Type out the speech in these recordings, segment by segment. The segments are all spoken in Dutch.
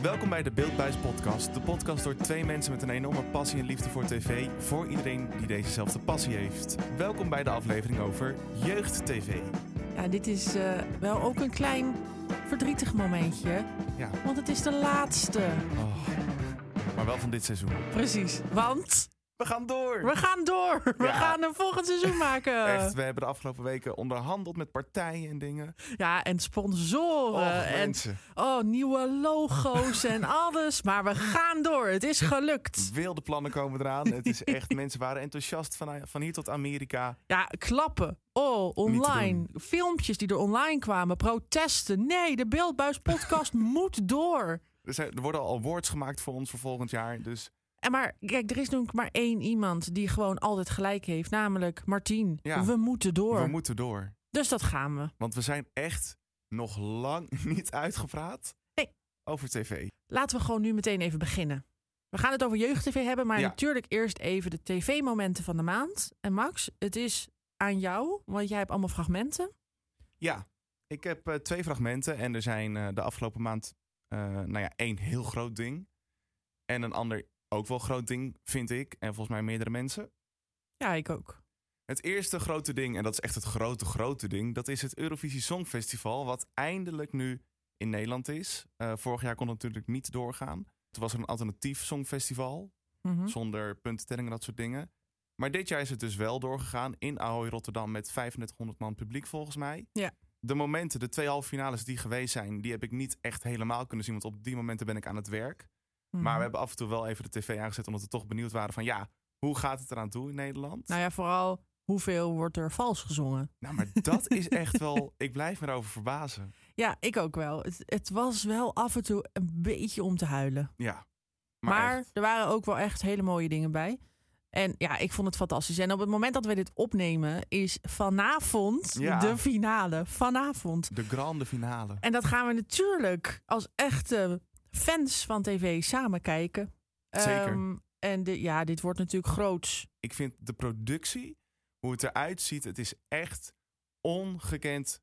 Welkom bij de Beeldbuis Podcast. De podcast door twee mensen met een enorme passie en liefde voor tv. Voor iedereen die dezezelfde passie heeft. Welkom bij de aflevering over jeugd-tv. Ja, dit is eh, wel ook een klein verdrietig momentje. Ja. Want het is de laatste. Oh. Maar wel van dit seizoen. Precies. Want We gaan door! we gaan door. We Ja. gaan een volgend seizoen maken. Echt, we hebben de afgelopen weken onderhandeld met partijen en dingen. Ja, en sponsoren. Och, en mensen. oh, nieuwe logo's en alles. Maar we gaan door. Het is gelukt. Wilde plannen komen eraan. Het is echt, mensen waren enthousiast van, van hier tot Amerika. Ja, klappen. Oh, online. Filmpjes die er online kwamen. Protesten. Nee, de Beeldbuis podcast moet door. Er, zijn, er worden al awards gemaakt voor ons voor volgend jaar. Dus En maar kijk, er is nu maar één iemand die gewoon altijd gelijk heeft, namelijk Martien. Ja. We moeten door. we moeten door. Dus dat gaan we. Want we zijn echt nog lang niet uitgepraat Nee. over tv. Laten we gewoon nu meteen even beginnen. We gaan het over jeugd-tv hebben, maar Ja. natuurlijk eerst even de tv-momenten van de maand. En Max, het is aan jou, want jij hebt allemaal fragmenten. Ja, ik heb eh, twee fragmenten en er zijn eh, de afgelopen maand eh, nou ja, één heel groot ding. En een ander ook wel groot ding, vind ik. En volgens mij meerdere mensen. Ja, ik ook. Het eerste grote ding, en dat is echt het grote, grote ding, dat is het Eurovisie Songfestival, wat eindelijk nu in Nederland is. Eh, vorig jaar kon het natuurlijk niet doorgaan. Toen was er een alternatief Songfestival, Mhm. zonder puntentelling en dat soort dingen. Maar dit jaar is het dus wel doorgegaan in Ahoy Rotterdam met 3500 man publiek volgens mij. Ja. De momenten, de twee halve finales die geweest zijn, die heb ik niet echt helemaal kunnen zien. Want op die momenten ben ik aan het werk. Mhm. Maar we hebben af en toe wel even de tv aangezet omdat we toch benieuwd waren van ja, hoe gaat het eraan toe in Nederland? Nou ja, vooral hoeveel wordt er vals gezongen? Nou, maar dat is echt wel, ik blijf me daarover verbazen. Ja, ik ook wel. Het, het was wel af en toe een beetje om te huilen. Ja. Maar, echt, er waren ook wel echt hele mooie dingen bij. En ja, ik vond het fantastisch. En op het moment dat we dit opnemen, is vanavond Ja. de finale. Vanavond. de grande finale. En dat gaan we natuurlijk als echte fans van tv samen kijken. Zeker. Ehm, en de, ja, dit wordt natuurlijk groots. Ik vind de productie, hoe het eruit ziet, het is echt ongekend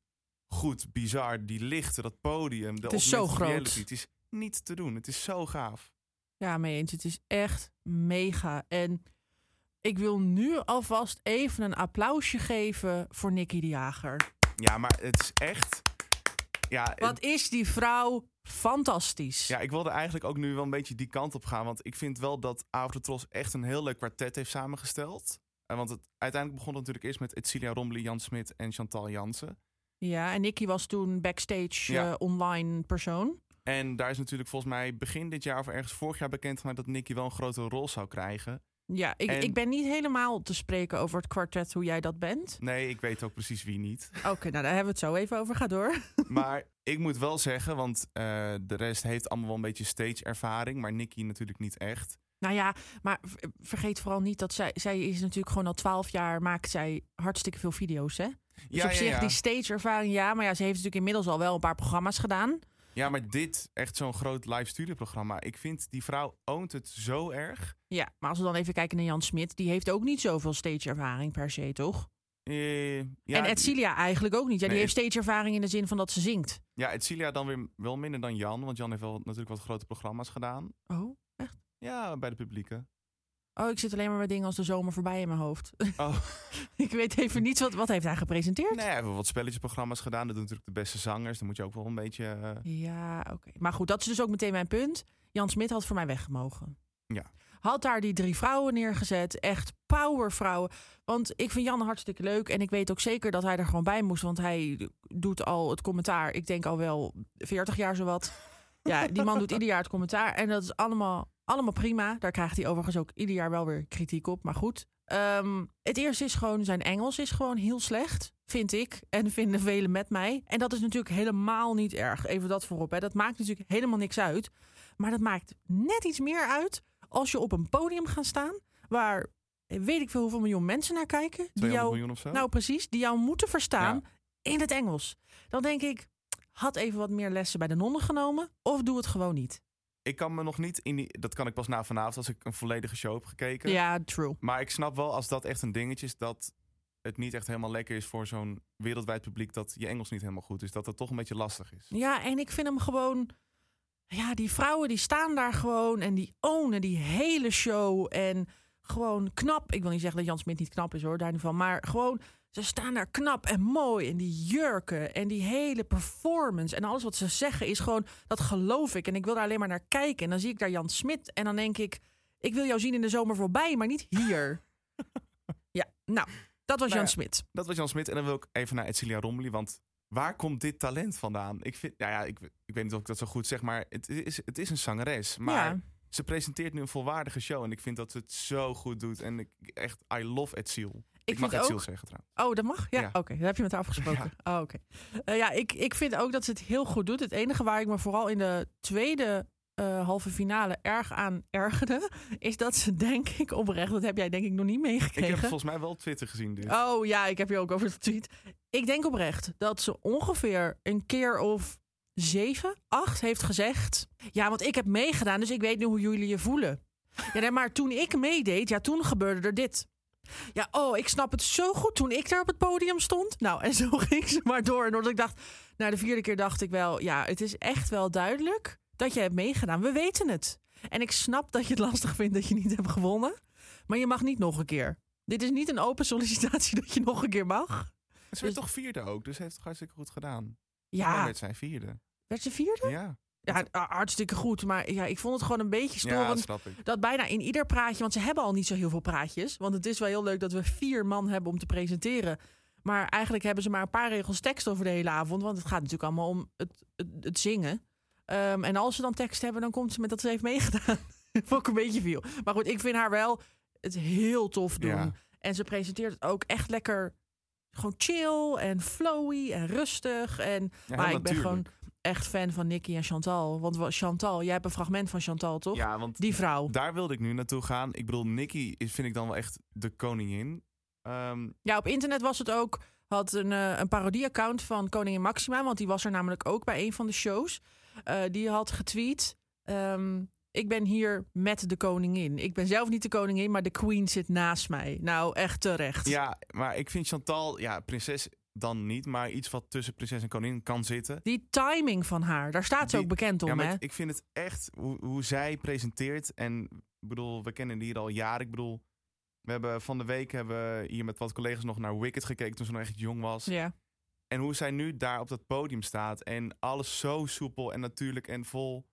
goed, bizar. Die lichten, dat podium, de Het is augmented zo groot. reality, Het is niet te doen. Het is zo gaaf. Ja, mee eens. Het is echt mega. En ik wil nu alvast even een applausje geven voor Nicky de Jager. Ja, maar het is echt. Ja, Wat het- is die vrouw fantastisch? ja, ik wilde eigenlijk ook nu wel een beetje die kant op gaan. Want ik vind wel dat Avrotros echt een heel leuk kwartet heeft samengesteld. En want het, uiteindelijk begon het natuurlijk eerst met Etcilia Rombly, Jan Smit en Chantal Jansen. Ja, en Nicky was toen backstage Ja. eh, online persoon. En daar is natuurlijk volgens mij begin dit jaar of ergens vorig jaar bekendgemaakt dat Nicky wel een grote rol zou krijgen. Ja, ik, En- ik ben niet helemaal te spreken over het kwartet, hoe jij dat bent. Nee, ik weet ook precies wie niet. Oké, nou daar hebben we het zo even over. Ga door. Maar ik moet wel zeggen, want eh, de rest heeft allemaal wel een beetje stage ervaring. Maar Nicky natuurlijk niet echt. Nou ja, maar v- vergeet vooral niet dat zij, zij is natuurlijk gewoon al twaalf jaar, maakt zij hartstikke veel video's, hè? Dus op zich, die stage ervaring, ja. Maar ja, ze heeft natuurlijk inmiddels al wel een paar programma's gedaan. ja, maar dit, echt zo'n groot live studioprogramma. Ik vind, die vrouw oont het zo erg. Ja, maar als we dan even kijken naar Jan Smit, die heeft ook niet zoveel stage ervaring per se, toch? Eh, en ja, Edcilia eigenlijk ook niet. Ja, die Nee, heeft stage ervaring in de zin van dat ze zingt. ja, Edcilia dan weer wel minder dan Jan. Want Jan heeft wel natuurlijk wat grote programma's gedaan. Oh. Ja, bij de publieke. Oh, ik zit alleen maar met dingen als de zomer voorbij in mijn hoofd. Oh. ik weet even niet wat, wat heeft hij gepresenteerd. Nee, hij heeft wel wat spelletjesprogramma's gedaan. Dat doen natuurlijk de beste zangers. Dan moet je ook wel een beetje... eh, Ja, oké. Maar goed, dat is dus ook meteen mijn punt. Jan Smit had voor mij weggemogen. Ja. Had daar die drie vrouwen neergezet. Echt powervrouwen. Want ik vind Jan hartstikke leuk. En ik weet ook zeker dat hij er gewoon bij moest. Want hij doet al het commentaar. Ik denk al wel 40 jaar zowat. Ja, die man doet ieder jaar het commentaar. En dat is allemaal, allemaal prima. Daar krijgt hij overigens ook ieder jaar wel weer kritiek op. Maar goed. Ehm, het eerste is gewoon, zijn Engels is gewoon heel slecht. Vind ik. En vinden velen met mij. En dat is natuurlijk helemaal niet erg. Even dat voorop. Hè. Dat maakt natuurlijk helemaal niks uit. Maar dat maakt net iets meer uit als je op een podium gaat staan. Waar eh, weet ik veel hoeveel miljoen mensen naar kijken. Die 200 jou miljoen of zo. nou, precies. Die jou moeten verstaan in het Engels. Dan denk ik, had even wat meer lessen bij de nonnen genomen. Of doe het gewoon niet. Ik kan me nog niet in die... Dat kan ik pas na vanavond als ik een volledige show heb gekeken. Ja, true. Maar ik snap wel, als dat echt een dingetje is, dat het niet echt helemaal lekker is voor zo'n wereldwijd publiek dat je Engels niet helemaal goed is. Dat dat toch een beetje lastig is. Ja, en ik vind hem gewoon... ja, die vrouwen die staan daar gewoon en die ownen die hele show. En gewoon knap. Ik wil niet zeggen dat Jan Smit niet knap is hoor, daar niet van. Maar gewoon, ze staan daar knap en mooi. En die jurken en die hele performance. En alles wat ze zeggen is gewoon, dat geloof ik. En ik wil daar alleen maar naar kijken. En dan zie ik daar Jan Smit en dan denk ik... Ik wil jou zien in de zomer voorbij, maar niet hier. ja, nou, dat was Nou Jan ja. Smit. Dat was Jan Smit. En dan wil ik even naar Edcilia Romli. Want waar komt dit talent vandaan? Ik, vind, nou ja, ik, ik weet niet of ik dat zo goed zeg, maar het is, het is een zangeres. Maar Ja. ze presenteert nu een volwaardige show. En ik vind dat ze het zo goed doet. En ik, echt, I love Edciel. Ik, vind mag Edciel ook- zeggen trouwens. Oh, dat mag? Ja, Ja. oké. Dat heb je met haar afgesproken. Oh, oké. Eh, ja, ik, ik vind ook dat ze het heel goed doet. Het enige waar ik me vooral in de tweede eh, halve finale erg aan ergerde... is dat ze, denk ik, oprecht... dat heb jij denk ik nog niet Ik heb meegekregen. volgens mij wel op Twitter gezien dus. dit. Oh ja, ik heb je ook over getweet. Ik denk oprecht dat ze ongeveer een keer of zeven, acht heeft gezegd. Ja, want ik heb meegedaan, dus ik weet nu hoe jullie je voelen. Ja, nee, maar toen ik meedeed, ja, toen gebeurde er dit. Ja, oh, ik snap het zo goed toen ik daar op het podium stond. Nou, en zo ging ze maar door. En doordat ik dacht, na de vierde keer dacht ik wel, ja, het is echt wel duidelijk dat je hebt meegedaan. We weten het. En ik snap dat je het lastig vindt dat je niet hebt gewonnen. Maar je mag niet nog een keer. Dit is niet een open sollicitatie dat je nog een keer mag. En Ze werd toch vierde ook, dus ze heeft het hartstikke goed gedaan. Dan Ja, werd zij vierde. werd ze vierde? Ja, Ja, a- hartstikke goed. Maar ja, ik vond het gewoon een beetje ja dat storend. snap ik. dat bijna in ieder praatje, want ze hebben al niet zo heel veel praatjes. Want het is wel heel leuk dat we vier man hebben om te presenteren. Maar eigenlijk hebben ze maar een paar regels tekst over de hele avond. Want het gaat natuurlijk allemaal om het, het, het zingen. Ehm, en als ze dan tekst hebben, dan komt ze met dat ze heeft meegedaan. Vond ik een beetje veel. Maar goed, ik vind haar wel het heel tof doen. Ja. En ze presenteert het ook echt lekker gewoon chill en flowy en rustig. En Ja, maar heel ik ben gewoon natuurlijk. echt fan van Nicky en Chantal. Want wa- Chantal, jij hebt een fragment van Chantal, toch? Ja, want Die vrouw. daar wilde ik nu naartoe gaan. Ik bedoel, Nicky is, vind ik dan wel echt de koningin. Ehm, Ja, op internet was het ook. Had een, eh, een parodie-account van Koningin Maxima. Want die was er namelijk ook bij een van de shows. Eh, die had getweet. ehm, ik ben hier met de koningin. Ik ben zelf niet de koningin, maar de queen zit naast mij. Nou, echt terecht. Ja, maar ik vind Chantal, ja, prinses dan niet, maar iets wat tussen prinses en koningin kan zitten. Die timing van haar, daar staat ze Die- ook bekend om, ja, maar hè? ik, ik vind het echt hoe, hoe zij presenteert. En ik bedoel, we kennen die hier al jaren. Ik bedoel, we hebben van de week hebben we hier met wat collega's nog naar Wicked gekeken toen ze nog echt jong was. Ja. En hoe zij nu daar op dat podium staat en alles zo soepel en natuurlijk en vol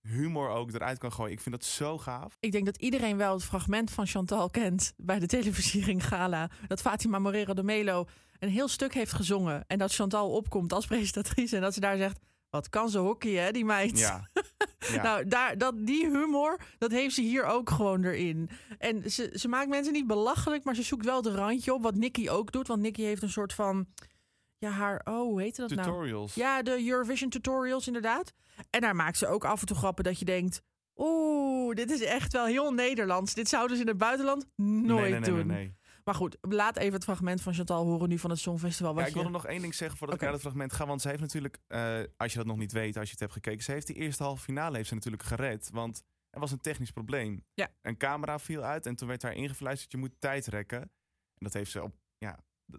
humor ook eruit kan gooien. Ik vind dat zo gaaf. Ik denk dat iedereen wel het fragment van Chantal kent bij de televisiering Gala. Dat Fatima Morero de Melo een heel stuk heeft gezongen. En dat Chantal opkomt als presentatrice. En dat ze daar zegt, wat kan ze hockeyen, hè, die meid. Ja. ja. Nou, daar, dat, die humor, dat heeft ze hier ook gewoon erin. En ze, ze maakt mensen niet belachelijk, maar ze zoekt wel het randje op. Wat Nicky ook doet, want Nicky heeft een soort van... Ja, haar... Oh, hoe heette dat nou? Tutorials. Ja, de Eurovision tutorials inderdaad. En daar maakt ze ook af en toe grappen dat je denkt... Oeh, dit is echt wel heel Nederlands. Dit zouden ze in het buitenland nooit nee, nee, nee, doen. nee, nee. Maar goed, laat even het fragment van Chantal horen nu van het Songfestival. Wat Ja, ik je... wilde nog één ding zeggen voordat Oké. ik naar dat fragment ga. Want ze heeft natuurlijk, eh, als je dat nog niet weet, als je het hebt gekeken, ze heeft die eerste halve finale heeft ze natuurlijk gered. Want er was een technisch probleem. Ja. Een camera viel uit en toen werd haar ingefluisterd, je moet tijd rekken. En dat heeft ze op, ja, d-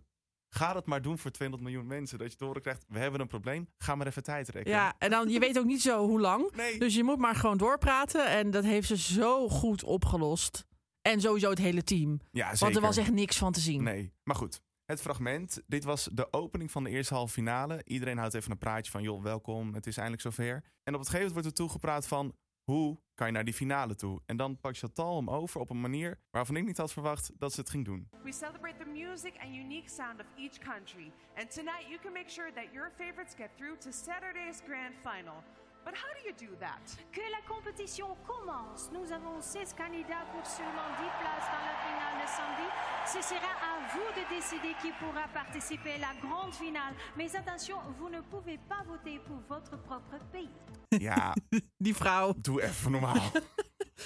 ga dat maar doen voor 200 miljoen mensen. Dat je te horen krijgt, we hebben een probleem, ga maar even tijd rekken. Ja, en dan, je weet ook niet zo hoe lang. Nee, Dus je moet maar gewoon doorpraten. En dat heeft ze zo goed opgelost. En sowieso het hele team. ja, zeker. Want er was echt niks van te zien. Nee, maar goed. Het fragment, dit was de opening van de eerste halve finale. Iedereen houdt even een praatje van, joh, welkom, het is eindelijk zover. En op het gegeven moment wordt er toegepraat van, hoe kan je naar die finale toe? En dan pakt Chantal hem over op een manier waarvan ik niet had verwacht dat ze het ging doen. We celebrate the music and unique sound of each country. And tonight you can make sure that your favorites get through to Saturday's grand final. But how do you do that? Que la compétition commence. Nous avons 16 candidats pour seulement 10 places dans la finale de samedi. Ce sera à vous de décider qui pourra participer à la grande finale. Mais attention, vous ne pouvez pas voter pour votre propre pays. Ja, Die vrouw. doe even normaal.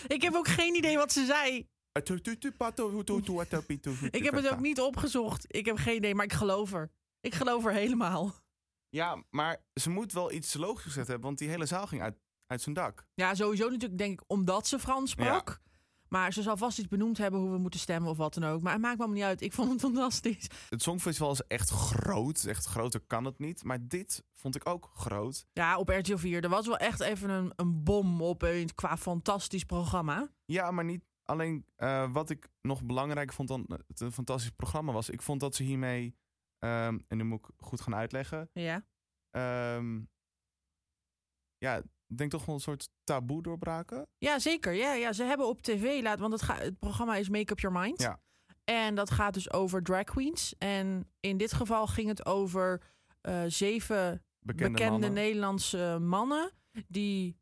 Ik heb ook geen idee wat ze zei. Ik heb het ook niet opgezocht. Ik heb geen idee, maar ik geloof er. Ik geloof er helemaal. Ja, maar ze moet wel iets logisch gezet hebben, want die hele zaal ging uit, uit zijn dak. Ja, sowieso natuurlijk denk ik omdat ze Frans sprak. Maar ze zal vast iets benoemd hebben hoe we moeten stemmen of wat dan ook. Maar het maakt me allemaal niet uit. Ik vond het fantastisch. Het Songfestival is echt groot. Echt groter kan het niet. Maar dit vond ik ook groot. Ja, op RTL 4. Er was wel echt even een, een bom op eh, qua fantastisch programma. Ja, maar niet alleen eh, wat ik nog belangrijk vond dan eh, het een fantastisch programma was. Ik vond dat ze hiermee, ehm, en nu moet ik goed gaan uitleggen. Ja. ehm, ja, ik denk toch wel een soort taboe doorbraken. Ja, zeker. Ja, ja, ze hebben op tv laat, want het, ga, het programma is Make Up Your Mind. Ja. En dat gaat dus over drag queens. En in dit geval ging het over eh, zeven Bekende, bekende, mannen. Nederlandse mannen die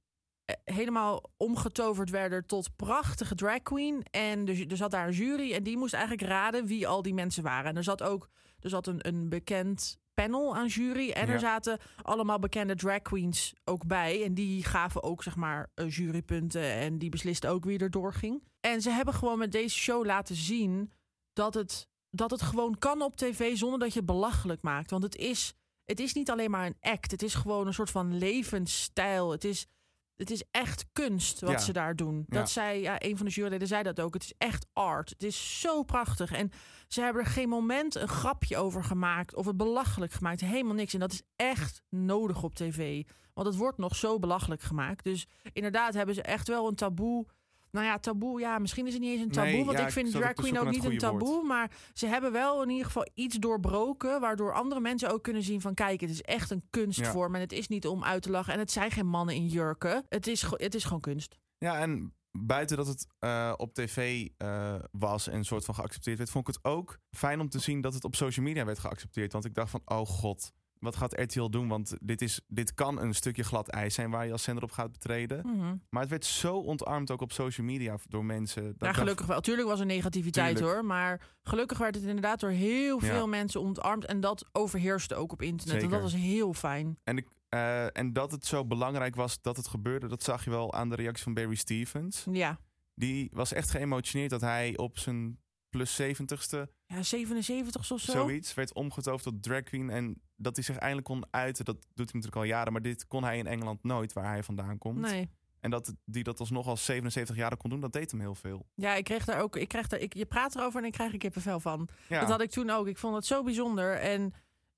eh, helemaal omgetoverd werden tot prachtige drag queen. En dus, er, er zat daar een jury en die moest eigenlijk raden wie al die mensen waren. En er zat ook er zat een, een bekend panel aan jury en Ja. er zaten allemaal bekende drag queens ook bij. En die gaven ook zeg maar eh, jurypunten en die beslisten ook wie er doorging. En ze hebben gewoon met deze show laten zien dat het, dat het gewoon kan op tv zonder dat je het belachelijk maakt. Want het is, het is niet alleen maar een act. Het is gewoon een soort van levensstijl. Het is, het is echt kunst wat Ja. ze daar doen. Ja. Dat zei, ja, een van de juryleden zei dat ook. Het is echt art. Het is zo prachtig. En ze hebben er geen moment een grapje over gemaakt of het belachelijk gemaakt. Helemaal niks. En dat is echt nodig op tv. Want het wordt nog zo belachelijk gemaakt. Dus inderdaad hebben ze echt wel een taboe. Nou ja, taboe, ja, misschien is het niet eens een taboe. Nee, want ja, ik ik vind zat drag ook te queen ook zoeken niet naar een het goede taboe. Maar ze hebben wel in ieder geval iets doorbroken. Waardoor andere mensen ook kunnen zien van... kijk, het is echt een kunstvorm. En het is niet om uit te lachen. En het zijn geen mannen in jurken. Het is, ge- het is gewoon kunst. Ja, en buiten dat het eh, op tv eh, was en soort van geaccepteerd werd, vond ik het ook fijn om te zien dat het op social media werd geaccepteerd. Want ik dacht van, oh god, wat gaat RTL doen? Want dit, is, dit kan een stukje glad ijs zijn waar je als zender op gaat betreden. Mhm. Maar het werd zo ontarmd ook op social media door mensen. Dat ik Ja, dacht- gelukkig wel. Tuurlijk was er negativiteit Tuurlijk. hoor. Maar gelukkig werd het inderdaad door heel Ja. veel mensen ontarmd. En dat overheerste ook op internet. En Zeker. dat was heel fijn. En, ik, eh, en dat het zo belangrijk was dat het gebeurde, dat zag je wel aan de reactie van Barry Stevens. Ja. Die was echt geëmotioneerd dat hij op zijn plus 70ste Ja, 77 of zo. zoiets werd omgetoverd tot drag queen. En dat hij zich eindelijk kon uiten, dat doet hij natuurlijk al jaren. Maar dit kon hij in Engeland nooit, waar hij vandaan komt. Nee. En dat die dat alsnog als 77 jaar kon doen, dat deed hem heel veel. Ja, ik kreeg daar ook. Ik kreeg daar, ik, je praat erover en ik krijg er kippenvel van. Ja, Dat had ik toen ook. Ik vond het zo bijzonder. En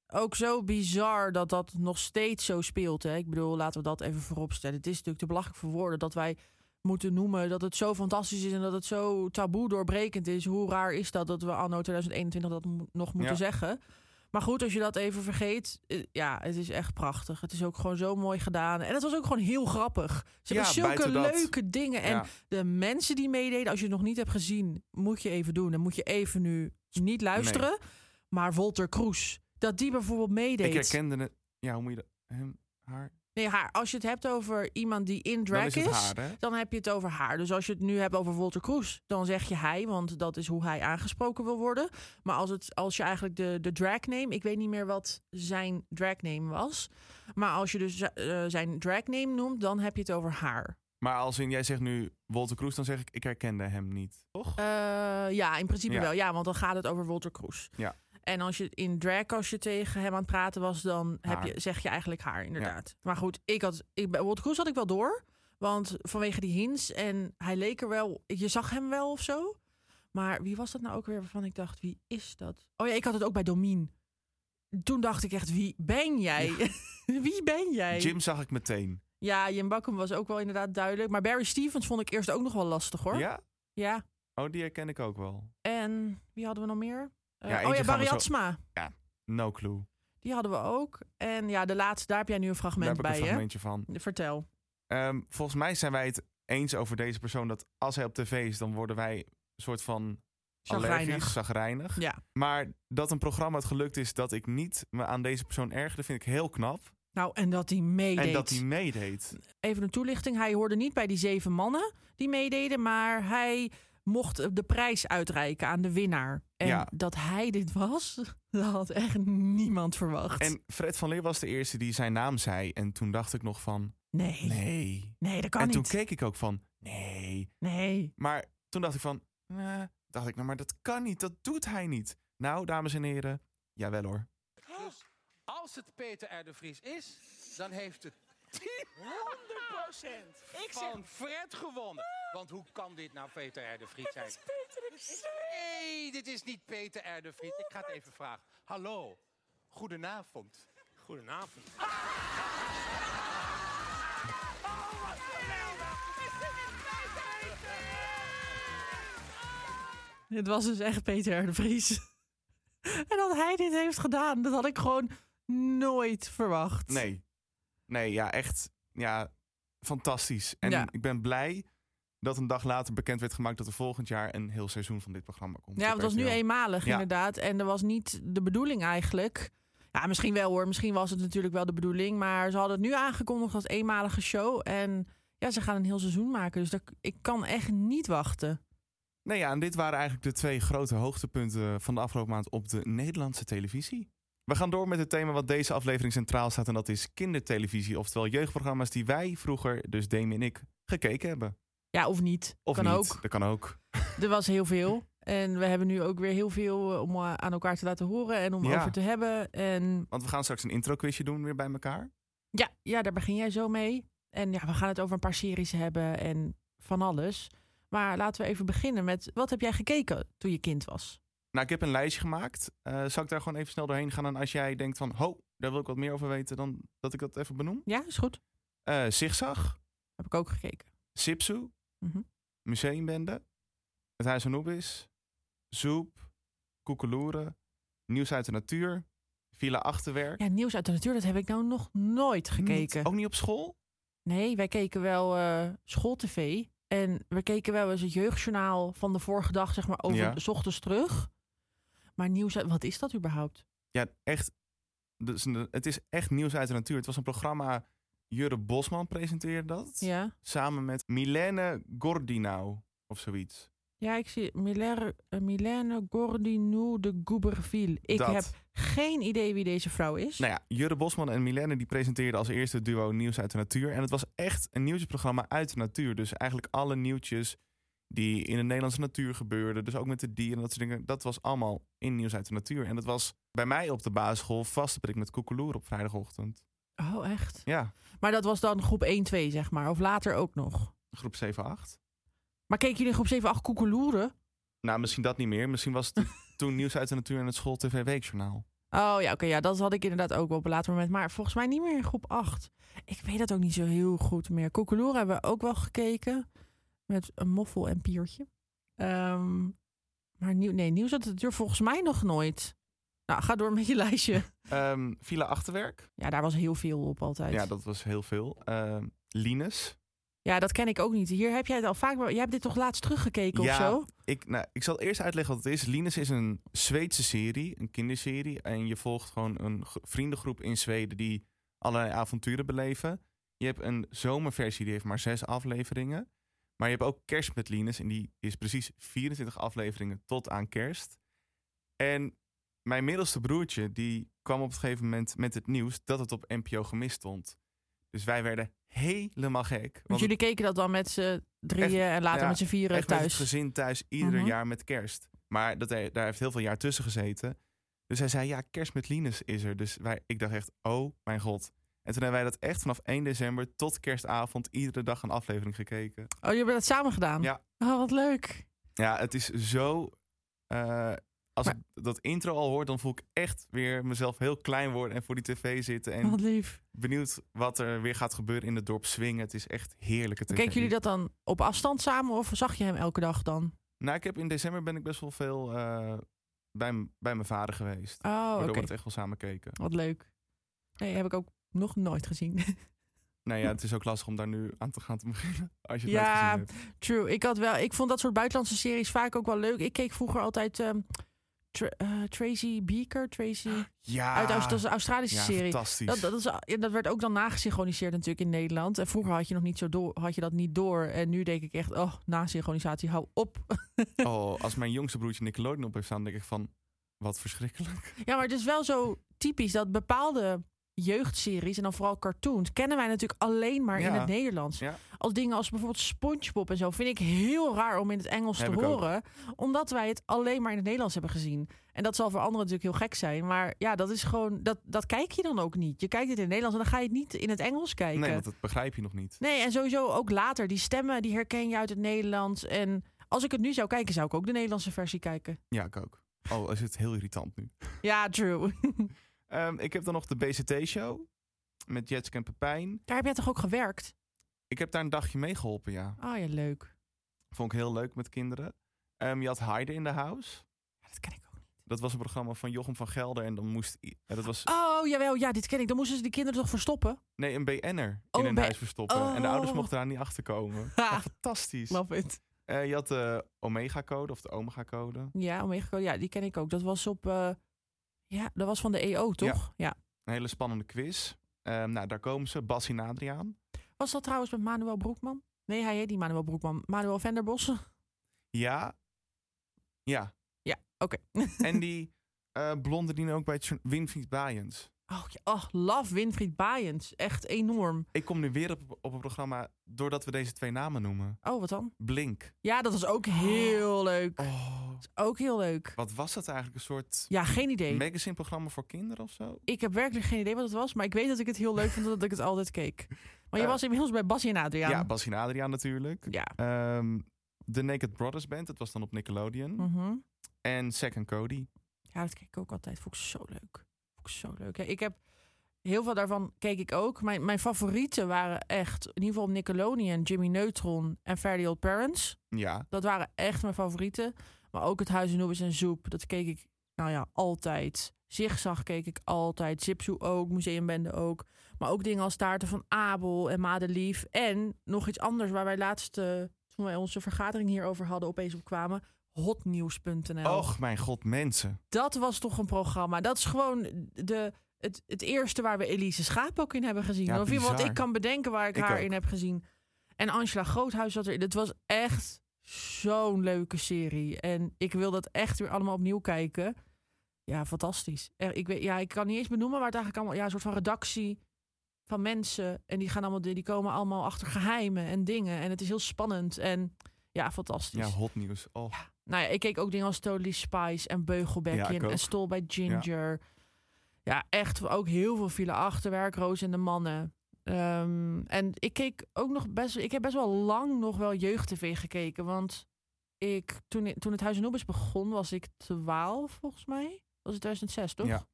ook zo bizar dat dat nog steeds zo speelt. Hè? Ik bedoel, laten we dat even vooropstellen. Het is natuurlijk te belachelijk voor woorden dat wij moeten noemen dat het zo fantastisch is en dat het zo taboe doorbrekend is. Hoe raar is dat dat we anno 2021 dat mo- nog moeten Ja. zeggen? Maar goed, als je dat even vergeet, eh, ja, het is echt prachtig. Het is ook gewoon zo mooi gedaan. En het was ook gewoon heel grappig. Ze Ja, hebben zulke buiten dat. leuke dingen. En Ja. de mensen die meededen, als je het nog niet hebt gezien, moet je even doen. Dan moet je even nu niet luisteren. Maar Walter Kroes, dat die bijvoorbeeld meedeed. ik herkende het. Ja, hoe moet je dat? Hem, haar? Nee, haar. Als je het hebt over iemand die in drag dan is het haar, hè? dan heb je het over haar. Dus als je het nu hebt over Walter Kroes, dan zeg je hij, want dat is hoe hij aangesproken wil worden. Maar als, het, als je eigenlijk de, de dragname, ik weet niet meer wat zijn dragname was. Maar als je dus z- eh, zijn dragname noemt, dan heb je het over haar. Maar als in, jij zegt nu Walter Kroes, dan zeg ik, ik herkende hem niet. Toch? Eh, ja, in principe Ja. wel. Ja, want dan gaat het over Walter Kroes. Ja. En als je in drag, als je tegen hem aan het praten was, dan heb Haar. je, zeg je eigenlijk haar, inderdaad. Maar goed, ik had, ik, bij Walter Kroes had ik wel door. Want vanwege die hints en hij leek er wel, je zag hem wel of zo. Maar wie was dat nou ook weer waarvan ik dacht, wie is dat? Oh ja, ik had het ook bij Domien. Toen dacht ik echt, wie ben jij? wie ben jij? Jim zag ik meteen. Ja, Jim Bakkum was ook wel inderdaad duidelijk. Maar Barry Stevens vond ik eerst ook nog wel lastig hoor. Ja? ja. Oh, die herken ik ook wel. En wie hadden we nog meer? Eh, Ja, eentje oh ja, gaan we Barry zo- Atsma. No clue. Die hadden we ook. En ja, de laatste, daar heb jij nu een Daar fragment heb ik een bij, hè? fragmentje van. Vertel. Ehm, volgens mij zijn wij het eens over deze persoon dat als hij op tv is, dan worden wij een soort van allergisch, Chagrijnig. zagrijnig. Ja. Maar dat een programma het gelukt is dat ik niet me aan deze persoon ergerde, vind ik heel knap. Nou, en dat hij meedeed. En dat hij meedeed. Even een toelichting. Hij hoorde niet bij die zeven mannen die meededen, maar hij mocht de prijs uitreiken aan de winnaar. En Ja. dat hij dit was, dat had echt niemand verwacht. En Fred van Leer was de eerste die zijn naam zei. En toen dacht ik nog van, nee. nee. nee. dat kan En toen niet. keek ik ook van, nee. Nee. Maar toen dacht ik van, eh, dacht ik, nou maar dat kan niet, dat doet hij niet. Nou, dames en heren, jawel hoor. Dus als het Peter R. de Vries is, dan heeft het team 100 procent. Ik zeg, van Fred gewonnen. Want hoe kan dit nou Peter R. de Vries zijn? Peter, ik zweer. Nee, dit is niet Peter R. de Vries. Ik ga het even vragen. Hallo, goedenavond. Goedenavond. Het was dus echt Peter R. de Vries. En dat hij dit heeft gedaan, dat had ik gewoon nooit verwacht. Nee. Nee, ja, echt. Ja, fantastisch. En Ja. ik ben blij dat een dag later bekend werd gemaakt dat er volgend jaar een heel seizoen van dit programma komt. Ja, op want het was nu RTL. eenmalig Ja. inderdaad. En dat was niet de bedoeling eigenlijk. Ja, misschien wel hoor. Misschien was het natuurlijk wel de bedoeling. Maar ze hadden het nu aangekondigd als eenmalige show. En ja, ze gaan een heel seizoen maken. Dus dat, ik kan echt niet wachten. Nee, ja, en dit waren eigenlijk de twee grote hoogtepunten van de afgelopen maand op de Nederlandse televisie. We gaan door met het thema wat deze aflevering centraal staat en dat is kindertelevisie, oftewel jeugdprogramma's die wij vroeger, dus Demi en ik, gekeken hebben. Ja, of niet. Of kan niet. ook. Dat kan ook. Er was heel veel. En we hebben nu ook weer heel veel eh, om eh, aan elkaar te laten horen en om Ja. over te hebben. En Want we gaan straks een intro quizje doen weer bij elkaar. ja, ja, daar begin jij zo mee. En ja, we gaan het over een paar series hebben en van alles. Maar laten we even beginnen met wat heb jij gekeken toen je kind was? Nou, ik heb een lijstje gemaakt. Eh zal ik daar gewoon even snel doorheen gaan? En als jij denkt van, ho, daar wil ik wat meer over weten, dan dat ik dat even benoem. Ja, is goed. Eh Zigzag, Heb ik ook gekeken. Sipsu, Mhm. Museumbende, Het Huis Anubis, Zoep, Koekeloeren, Nieuws uit de Natuur, Villa Achterwerk. Ja, nieuws uit de natuur, dat heb ik nou nog nooit gekeken. Niet- ook niet op school? Nee, wij keken wel eh schooltv. En we keken wel eens het jeugdjournaal van de vorige dag, zeg maar, over Ja. de 's ochtends terug. Maar nieuws uit, wat is dat überhaupt? Ja, echt. Dus een- het is echt Nieuws uit de Natuur. Het was een programma, Jurre Bosman presenteerde dat. Ja, Samen met Milene Gordinau of zoiets. ja ik zie Milère, eh, Milène Gordinou de Gouberville. Ik Dat. heb geen idee wie deze vrouw is. Nou ja, Jurre Bosman en Milene die presenteerden als eerste het duo Nieuws uit de Natuur. En het was echt een nieuwsprogramma uit de natuur. Dus eigenlijk alle nieuwtjes die in de Nederlandse natuur gebeurden. Dus ook met de dieren en dat soort dingen. Dat was allemaal in Nieuws uit de Natuur. En dat was bij mij op de basisschool vaste prik met koekeloer op vrijdagochtend. Oh, echt? Ja, Maar dat was dan groep 1, 2, zeg maar. Of later ook nog. groep 7-8. Maar keken jullie in groep 7, 8 koekeloeren? Nou, misschien dat niet meer. Misschien was het toen Nieuws uit de Natuur en het school TV Weekjournaal. Oh ja, oké. ja, dat had ik inderdaad ook wel op een later moment. Maar volgens mij niet meer in groep 8. Ik weet dat ook niet zo heel goed meer. Koekeloer hebben we ook wel gekeken. Met een moffel en piertje. Ehm, maar nieuw, nee, nieuws had het duur volgens mij nog nooit. Nou, ga door met je lijstje. Ehm Villa Achterwerk. Ja, daar was heel veel op altijd. Ja, dat was heel veel. Ehm Linus. Ja, dat ken ik ook niet. Hier heb jij het al vaak... Jij hebt dit toch laatst teruggekeken of Ja. zo? Ik, nou, ik zal eerst uitleggen wat het is. Linus is een Zweedse serie, een kinderserie. En je volgt gewoon een gro- vriendengroep in Zweden die allerlei avonturen beleven. Je hebt een zomerversie, die heeft maar zes afleveringen. Maar je hebt ook Kerst met Linus en die is precies 24 afleveringen tot aan kerst. En mijn middelste broertje, die kwam op een gegeven moment met het nieuws dat het op NPO gemist stond. Dus wij werden helemaal gek. Want want jullie keken dat dan met z'n drieën en later ja, met z'n vieren Echt met het thuis. gezin thuis, ieder Mhm. jaar met kerst. Maar dat, hij- daar heeft heel veel jaar tussen gezeten. Dus hij zei, ja, kerst met Linus is er. Dus wij, ik dacht echt, oh mijn god. En toen hebben wij dat echt vanaf 1 december tot kerstavond... iedere dag een aflevering gekeken. Oh, jullie hebben dat samen gedaan? Ja. Oh, wat leuk. Ja, het is zo... eh, als Maar- ik dat intro al hoor, dan voel ik echt weer mezelf heel klein worden... en voor die tv zitten en Wat lief. benieuwd wat er weer gaat gebeuren in het dorp Swingen. Het is echt heerlijke tv. Keken jullie dat dan op afstand samen of zag je hem elke dag dan? Oh, Nou, ik heb in december ben ik best wel veel eh, bij, m- bij mijn vader geweest. Oh, oké. waardoor we het echt wel samen keken. Wat leuk. Nee, heb ik ook nog nooit gezien. Nou ja, het is ook lastig om daar nu aan te gaan te beginnen. Als je het Ja. ja. hebt. True. Ik, had wel, ik vond dat soort buitenlandse series vaak ook wel leuk. Ik keek vroeger altijd ehm, Tra- eh, Tracy Beaker. Tracy, Ja, uit Aus- dat is een Australische Ah, ja, serie. fantastisch. Dat, dat, is, ja, dat werd ook dan nagesynchroniseerd natuurlijk in Nederland. En vroeger had je, nog niet zo door, had je dat niet door. En nu denk ik echt, oh, nasynchronisatie, hou op. Oh, als mijn jongste broertje Nickelodeon op heeft staan, denk ik van, wat verschrikkelijk. Ja, maar het is wel zo typisch dat bepaalde jeugdseries en dan vooral cartoons kennen wij natuurlijk alleen maar in Ja. het Nederlands. Ja. Als dingen als bijvoorbeeld SpongeBob en zo vind ik heel raar om in het Engels Heb te ik ook. horen, omdat wij het alleen maar in het Nederlands hebben gezien. En dat zal voor anderen natuurlijk heel gek zijn, maar ja, dat is gewoon dat dat kijk je dan ook niet. Je kijkt het in het Nederlands en dan ga je het niet in het Engels kijken. Nee, want dat begrijp je nog niet. Nee, en sowieso ook later. Die stemmen die herken je uit het Nederlands. En als ik het nu zou kijken, zou ik ook de Nederlandse versie kijken. Ja, ik ook. Oh, is het heel irritant nu. Ja, true. Ehm, ik heb dan nog de BCT-show met Jetske en Pepijn. Daar heb jij toch ook gewerkt? Ik heb daar een dagje mee geholpen, ja. Oh ja, leuk. Vond ik heel leuk met kinderen. Ehm, je had Heide in the House. Ja, dat ken ik ook niet. Dat was een programma van Jochem van Gelder. En dan moest... i- eh, Dat was, Oh, jawel. Ja, dit ken ik. Dan moesten ze die kinderen toch verstoppen? nee, een BN'er Oh, in een bij- huis verstoppen. En de ouders Oh. mochten daar niet achter komen. Ha. Oh, fantastisch. Love it. Eh, je had de Omega-code of de Omega-code. Ja, Omega Code. Ja, die ken ik ook. Dat was op... eh, Ja, dat was van de EO, toch? Ja. Een hele spannende quiz. Ehm, nou, daar komen ze. Bas en Adriaan. Was dat trouwens met Manuel Broekman? Nee, hij heet niet Manuel Broekman. Manuel Venderbos. Oké. Ja. Ja. En die eh, blonde die nu ook bij het journa- Winfried Baaiens. Oh, ja. oh, love Winfried Baaiens. Echt enorm. Ik kom nu weer op, op een programma doordat we deze twee namen noemen. Oh, wat dan? Blink. Ja, dat was ook heel leuk. Oh, Ook heel leuk. wat was dat eigenlijk? Een soort Ja, geen idee. magazine-programma voor kinderen of zo? Ik heb werkelijk geen idee wat het was, maar ik weet dat ik het heel leuk vond dat ik het altijd keek. Maar je Eh, was inmiddels bij Bassie en Ja, Adriaan. Bas en Adriaan natuurlijk. Ja. Ehm, de Naked Brothers Band, dat was dan op Nickelodeon. Mhm. En Second Cody. Ja, dat keek ik ook altijd. Vond ik zo leuk. Vond ik zo leuk. Ja, ik heb heel veel daarvan keek ik ook. Mijn, mijn favorieten waren echt, in ieder geval op Nickelodeon, Jimmy Neutron en Fairly Old Parents. Ja, Dat waren echt mijn favorieten. Maar ook het Huis en Noobis en Zoep, dat keek ik, nou ja, altijd. Zigzag keek ik altijd. Zipsoe ook, Museumbende ook. Maar ook dingen als Taarten van Abel en Madelief. En nog iets anders waar wij laatst, eh, toen wij onze vergadering hierover hadden, opeens op kwamen. Hotnieuws.nl. Och, mijn god, mensen. Dat was toch een programma. Dat is gewoon de, het, het eerste waar we Elise Schaap ook in hebben gezien. Ja, of in ieder geval wat bizar. ik kan bedenken waar ik, Ik haar ook. in heb gezien. En Angela Groothuis zat erin. Het was echt zo'n leuke serie. En ik wil dat echt weer allemaal opnieuw kijken. Ja, fantastisch. Er- ik, weet, ja, ik kan niet eens benoemen waar het eigenlijk allemaal... Ja, een soort van redactie van mensen. En die, gaan allemaal, die komen allemaal achter geheimen en dingen. En het is heel spannend. En ja, fantastisch. Ja, hot nieuws. Oh. Nou ja, ik keek ook dingen als Totally Spice en Ja, Beugelbekje ik ook. en Stol bij Ginger. Ja. echt ook heel veel file achterwerk, Roos en de Mannen. Ehm, en ik keek ook nog best, ik heb best wel lang nog wel jeugd-tv gekeken. Want ik, toen, toen het Huis en Nobis begon, was ik 12 volgens mij. Was het 2006, toch? Ja.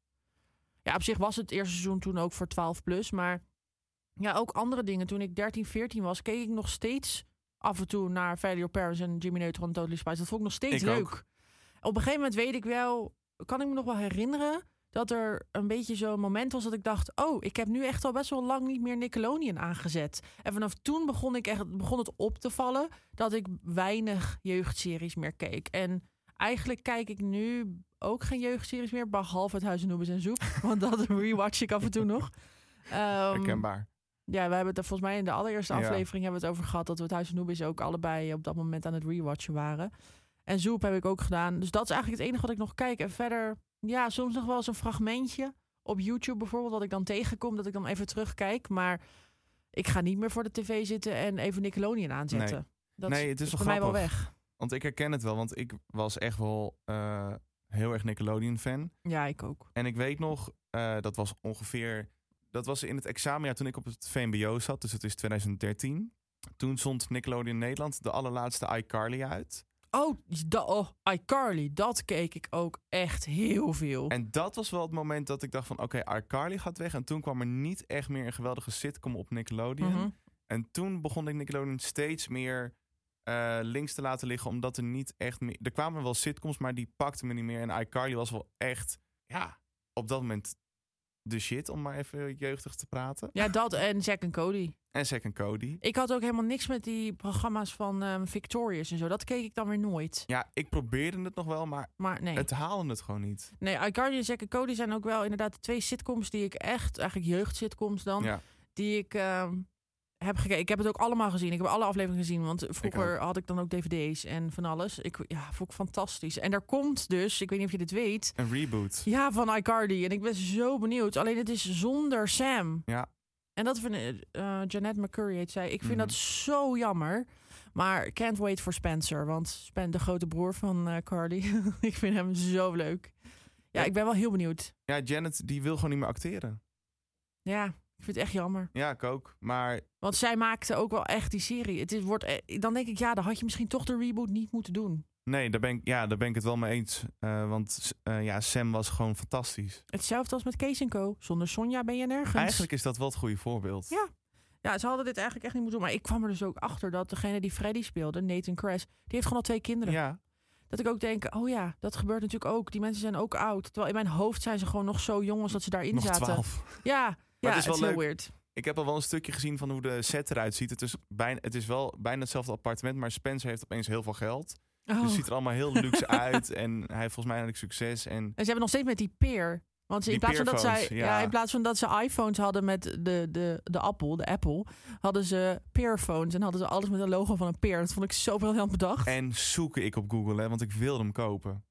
Ja, op zich was het eerste seizoen toen ook voor 12 plus. Maar ja, ook andere dingen. Toen ik 13, 14 was, keek ik nog steeds af en toe naar Valley Your Parents en Jimmy Neutron en Totally Spice. Dat vond ik nog steeds Ik ook. leuk. Op een gegeven moment weet ik wel, kan ik me nog wel herinneren dat er een beetje zo'n moment was dat ik dacht: Oh, ik heb nu echt al best wel lang niet meer Nickelodeon aangezet. En vanaf toen begon, ik echt, begon het op te vallen dat ik weinig jeugdseries meer keek. En eigenlijk kijk ik nu ook geen jeugdseries meer, behalve het Huis en Noebes en Zoep. want dat rewatch ik af en toe nog. Ehm, Herkenbaar. ja, we hebben het er volgens mij in de allereerste Ja. aflevering hebben we het over gehad dat we het Huis van Noobis ook allebei op dat moment aan het rewatchen waren. En Zoep heb ik ook gedaan. Dus dat is eigenlijk het enige wat ik nog kijk. En verder, ja, soms nog wel eens een fragmentje op YouTube bijvoorbeeld, wat ik dan tegenkom, dat ik dan even terugkijk. Maar ik ga niet meer voor de tv zitten en even Nickelodeon aanzetten. Dat Nee, is- het is is wel voor mij wel grappig. weg. Want ik herken het wel, want ik was echt wel eh, heel erg Nickelodeon-fan. Ja, ik ook. En ik weet nog, eh, dat was ongeveer... Dat was in het examenjaar toen ik op het VMBO zat, dus dat is 2013. Toen zond Nickelodeon Nederland de allerlaatste iCarly uit. Oh, da- oh, iCarly, dat keek ik ook echt heel veel. En dat was wel het moment dat ik dacht van... oké, iCarly gaat weg. En toen kwam er niet echt meer een geweldige sitcom op Nickelodeon. Mhm. En toen begon ik Nickelodeon steeds meer eh, links te laten liggen. Omdat er niet echt meer... Er kwamen wel sitcoms, maar die pakten me niet meer. En iCarly was wel echt, ja, op dat moment de shit. Om maar even jeugdig te praten. Ja, dat en Zack en Cody. En Second Cody. Ik had ook helemaal niks met die programma's van ehm, Victorious en zo. Dat keek ik dan weer nooit. Ja, ik probeerde het nog wel, maar Maar nee. het haalde het gewoon niet. Nee, iCarly en Zack en Cody zijn ook wel inderdaad de twee sitcoms die ik echt... Eigenlijk jeugdsitcoms dan. Ja. Die ik ehm, heb gekeken. Ik heb het ook allemaal gezien. Ik heb alle afleveringen gezien. Want vroeger ook. had ik dan ook dvd's en van alles. Ik ja, vond ik fantastisch. En daar komt dus, ik weet niet of je dit weet, Een reboot. ja, van iCardi. En ik ben zo benieuwd. Alleen het is zonder Sam. Ja. En dat vind ik, eh, Jeanette McCurry heet zij. Ik vind dat Mhm. zo jammer. Maar can't wait for Spencer. Want Spen, de grote broer van eh, Cardi. ik vind hem zo leuk. Ja, Ja. ik ben wel heel benieuwd. Ja, Janet die wil gewoon niet meer acteren. Ja, ik vind het echt jammer. Ja, ik ook. Maar Want zij maakte ook wel echt die serie. Het is, wordt, eh, dan denk ik, ja, dan had je misschien toch de reboot niet moeten doen. nee, daar ben ik, ja, daar ben ik het wel mee eens. Eh, want eh, ja, Sam was gewoon fantastisch. Hetzelfde als met Kees en Co. Zonder Sonja ben je nergens. Eigenlijk is dat wel het goede voorbeeld. Ja. Ja, ze hadden dit eigenlijk echt niet moeten doen. Maar ik kwam er dus ook achter dat degene die Freddy speelde, Nathan Crash, die heeft gewoon al twee kinderen. Ja, Dat ik ook denk, oh ja, dat gebeurt natuurlijk ook. Die mensen zijn ook oud. Terwijl in mijn hoofd zijn ze gewoon nog zo jong als dat ze daarin nog zaten. twaalf. Ja, ja, het het is is wel heel leuk. weird. Ik heb al wel een stukje gezien van hoe de set eruit ziet. Het is, bijna, het is wel bijna hetzelfde appartement, maar Spencer heeft opeens heel veel geld. Dus Oh. het ziet er allemaal heel luxe uit. En hij heeft volgens mij eigenlijk succes. En En ze hebben nog steeds met die peer. Want ze, in Die plaats, van dat zij, peerphones, ja. ja. in plaats van dat ze iPhones hadden met de, de, de Apple, de Apple, hadden ze peerphones en hadden ze alles met een logo van een peer. Dat vond ik zo briljant bedacht. En zoek ik op Google, hè, want ik wilde hem kopen.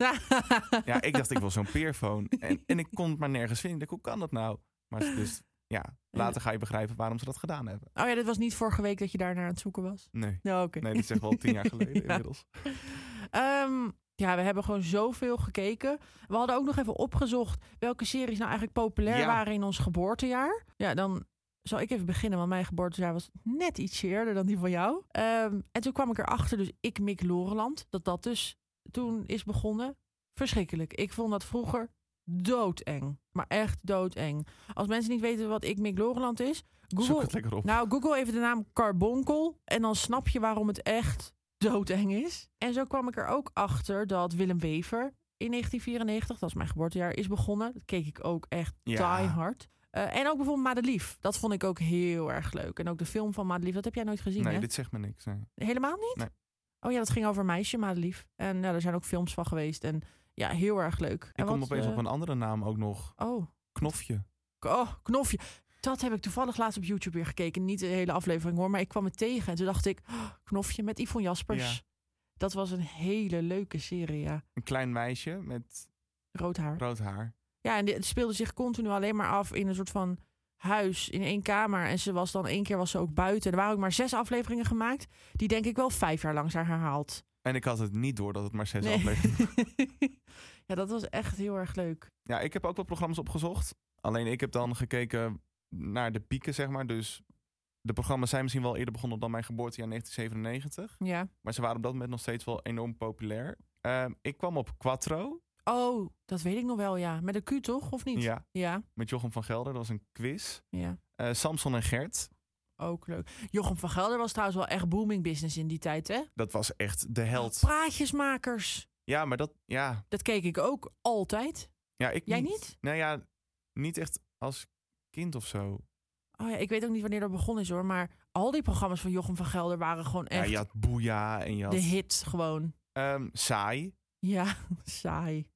Ja, ik dacht, ik wil zo'n peerphone. En, en ik kon het maar nergens vinden. Ik dacht, hoe kan dat nou? Maar het is dus, ja, later ga je begrijpen waarom ze dat gedaan hebben. Oh ja, dit was niet vorige week dat je daar naar aan het zoeken was. Nee, Nou, oké. nee dat is echt wel tien jaar geleden Ja. inmiddels. Ehm, ja, we hebben gewoon zoveel gekeken. We hadden ook nog even opgezocht welke series nou eigenlijk populair Ja. waren in ons geboortejaar. Ja, dan zal ik even beginnen, want mijn geboortejaar was net iets eerder dan die van jou. Ehm, en toen kwam ik erachter, dus ik mik Loreland, dat dat dus toen is begonnen. Verschrikkelijk. Ik vond dat vroeger doodeng. Maar echt doodeng. Als mensen niet weten wat ik mik Loreland is, Zoek Google, het lekker op. nou, Google even de naam carbonkel en dan snap je waarom het echt doodeng is. En zo kwam ik er ook achter dat Willem Wever in 1994, dat is mijn geboortejaar, is begonnen. Dat keek ik ook echt Ja. die hard. Eh, en ook bijvoorbeeld Madelief. Dat vond ik ook heel erg leuk. En ook de film van Madelief, dat heb jij nooit gezien, nee, hè? dit zegt me niks. nee. Helemaal niet? Nee. Oh ja, dat ging over een meisje, Madelief. En nou, er zijn ook films van geweest. En ja, heel erg leuk. Ik en kom wat, opeens eh, op een andere naam ook nog. Oh, Knofje. K- Oh, knofje. Dat heb ik toevallig laatst op YouTube weer gekeken. Niet de hele aflevering hoor, maar ik kwam het tegen. En toen dacht ik, oh, knofje met Yvonne Jaspers. Ja. Dat was een hele leuke serie, ja. Een klein meisje met Rood haar. rood haar. Ja, en dit- het speelde zich continu alleen maar af in een soort van huis, in één kamer. En ze was dan één keer was ze ook buiten. Er waren ook maar zes afleveringen gemaakt. Die denk ik wel vijf jaar lang zijn herhaald. En ik had het niet door dat het maar zes Nee. afleveringen ja, dat was echt heel erg leuk. Ja, ik heb ook wel programma's opgezocht. Alleen ik heb dan gekeken naar de pieken, zeg maar. Dus de programma's zijn misschien wel eerder begonnen dan mijn geboortejaar 1997. Ja. Maar ze waren op dat moment nog steeds wel enorm populair. Ehm, ik kwam op Quattro. Oh, dat weet ik nog wel, ja. Met een Q toch, of niet? Ja, Ja, met Jochem van Gelder. Dat was een quiz. ja. Eh, Samson en Gert. Ook leuk. Jochem van Gelder was trouwens wel echt booming business in die tijd, hè? Dat was echt de held. Praatjesmakers. Ja, maar dat... Ja, Dat keek ik ook altijd. ja ik Jij niet? Nou ja, niet echt als kind of zo. Oh ja, ik weet ook niet wanneer dat begonnen is hoor, maar al die programma's van Jochem van Gelder waren gewoon Ja, echt je had Boeja en je had... de hit gewoon. ehm, saai. Ja, saai.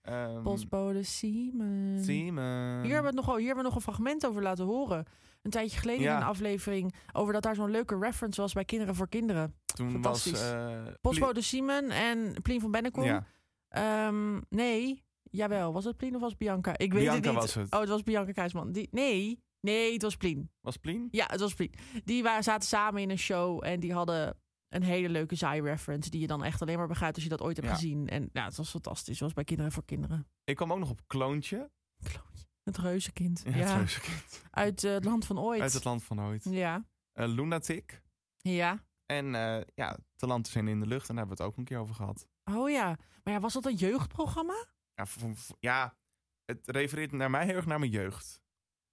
ehm, Postbode Simon. Simon. Mm. Hier hebben, we het nog, hier hebben we nog een fragment over laten horen. Een tijdje geleden Ja. in een aflevering over dat daar zo'n leuke reference was bij Kinderen voor Kinderen. Toen was... Fantastisch. eh, Postbode Simon en Plien van Bennekom. Ja, Ehm, nee, jawel. Was het Plien of was het Bianca? Ik weet het Bianca niet. was het. Oh, het was Bianca Kruisman. Die, nee, nee, het was Plien. was Plien? Ja, het was Plien. Die waren, zaten samen in een show en die hadden een hele leuke zaai-reference... die je dan echt alleen maar begrijpt als je dat ooit hebt Ja. gezien. En ja, het was fantastisch. Zoals bij Kinderen voor Kinderen. Ik kwam ook nog op Kloontje. Klootje. Het reuzenkind. Ja, Ja, trouwens, kind. uit eh, het land van ooit. Mm. Uit het land van ooit. Ja, Eh, Lunatic. ja. En eh, ja, Talenten zijn in de lucht. En daar hebben we het ook een keer over gehad. Oh ja. Maar ja, was dat een jeugdprogramma? Ja, v- v- ja het refereert naar mij heel erg naar mijn jeugd.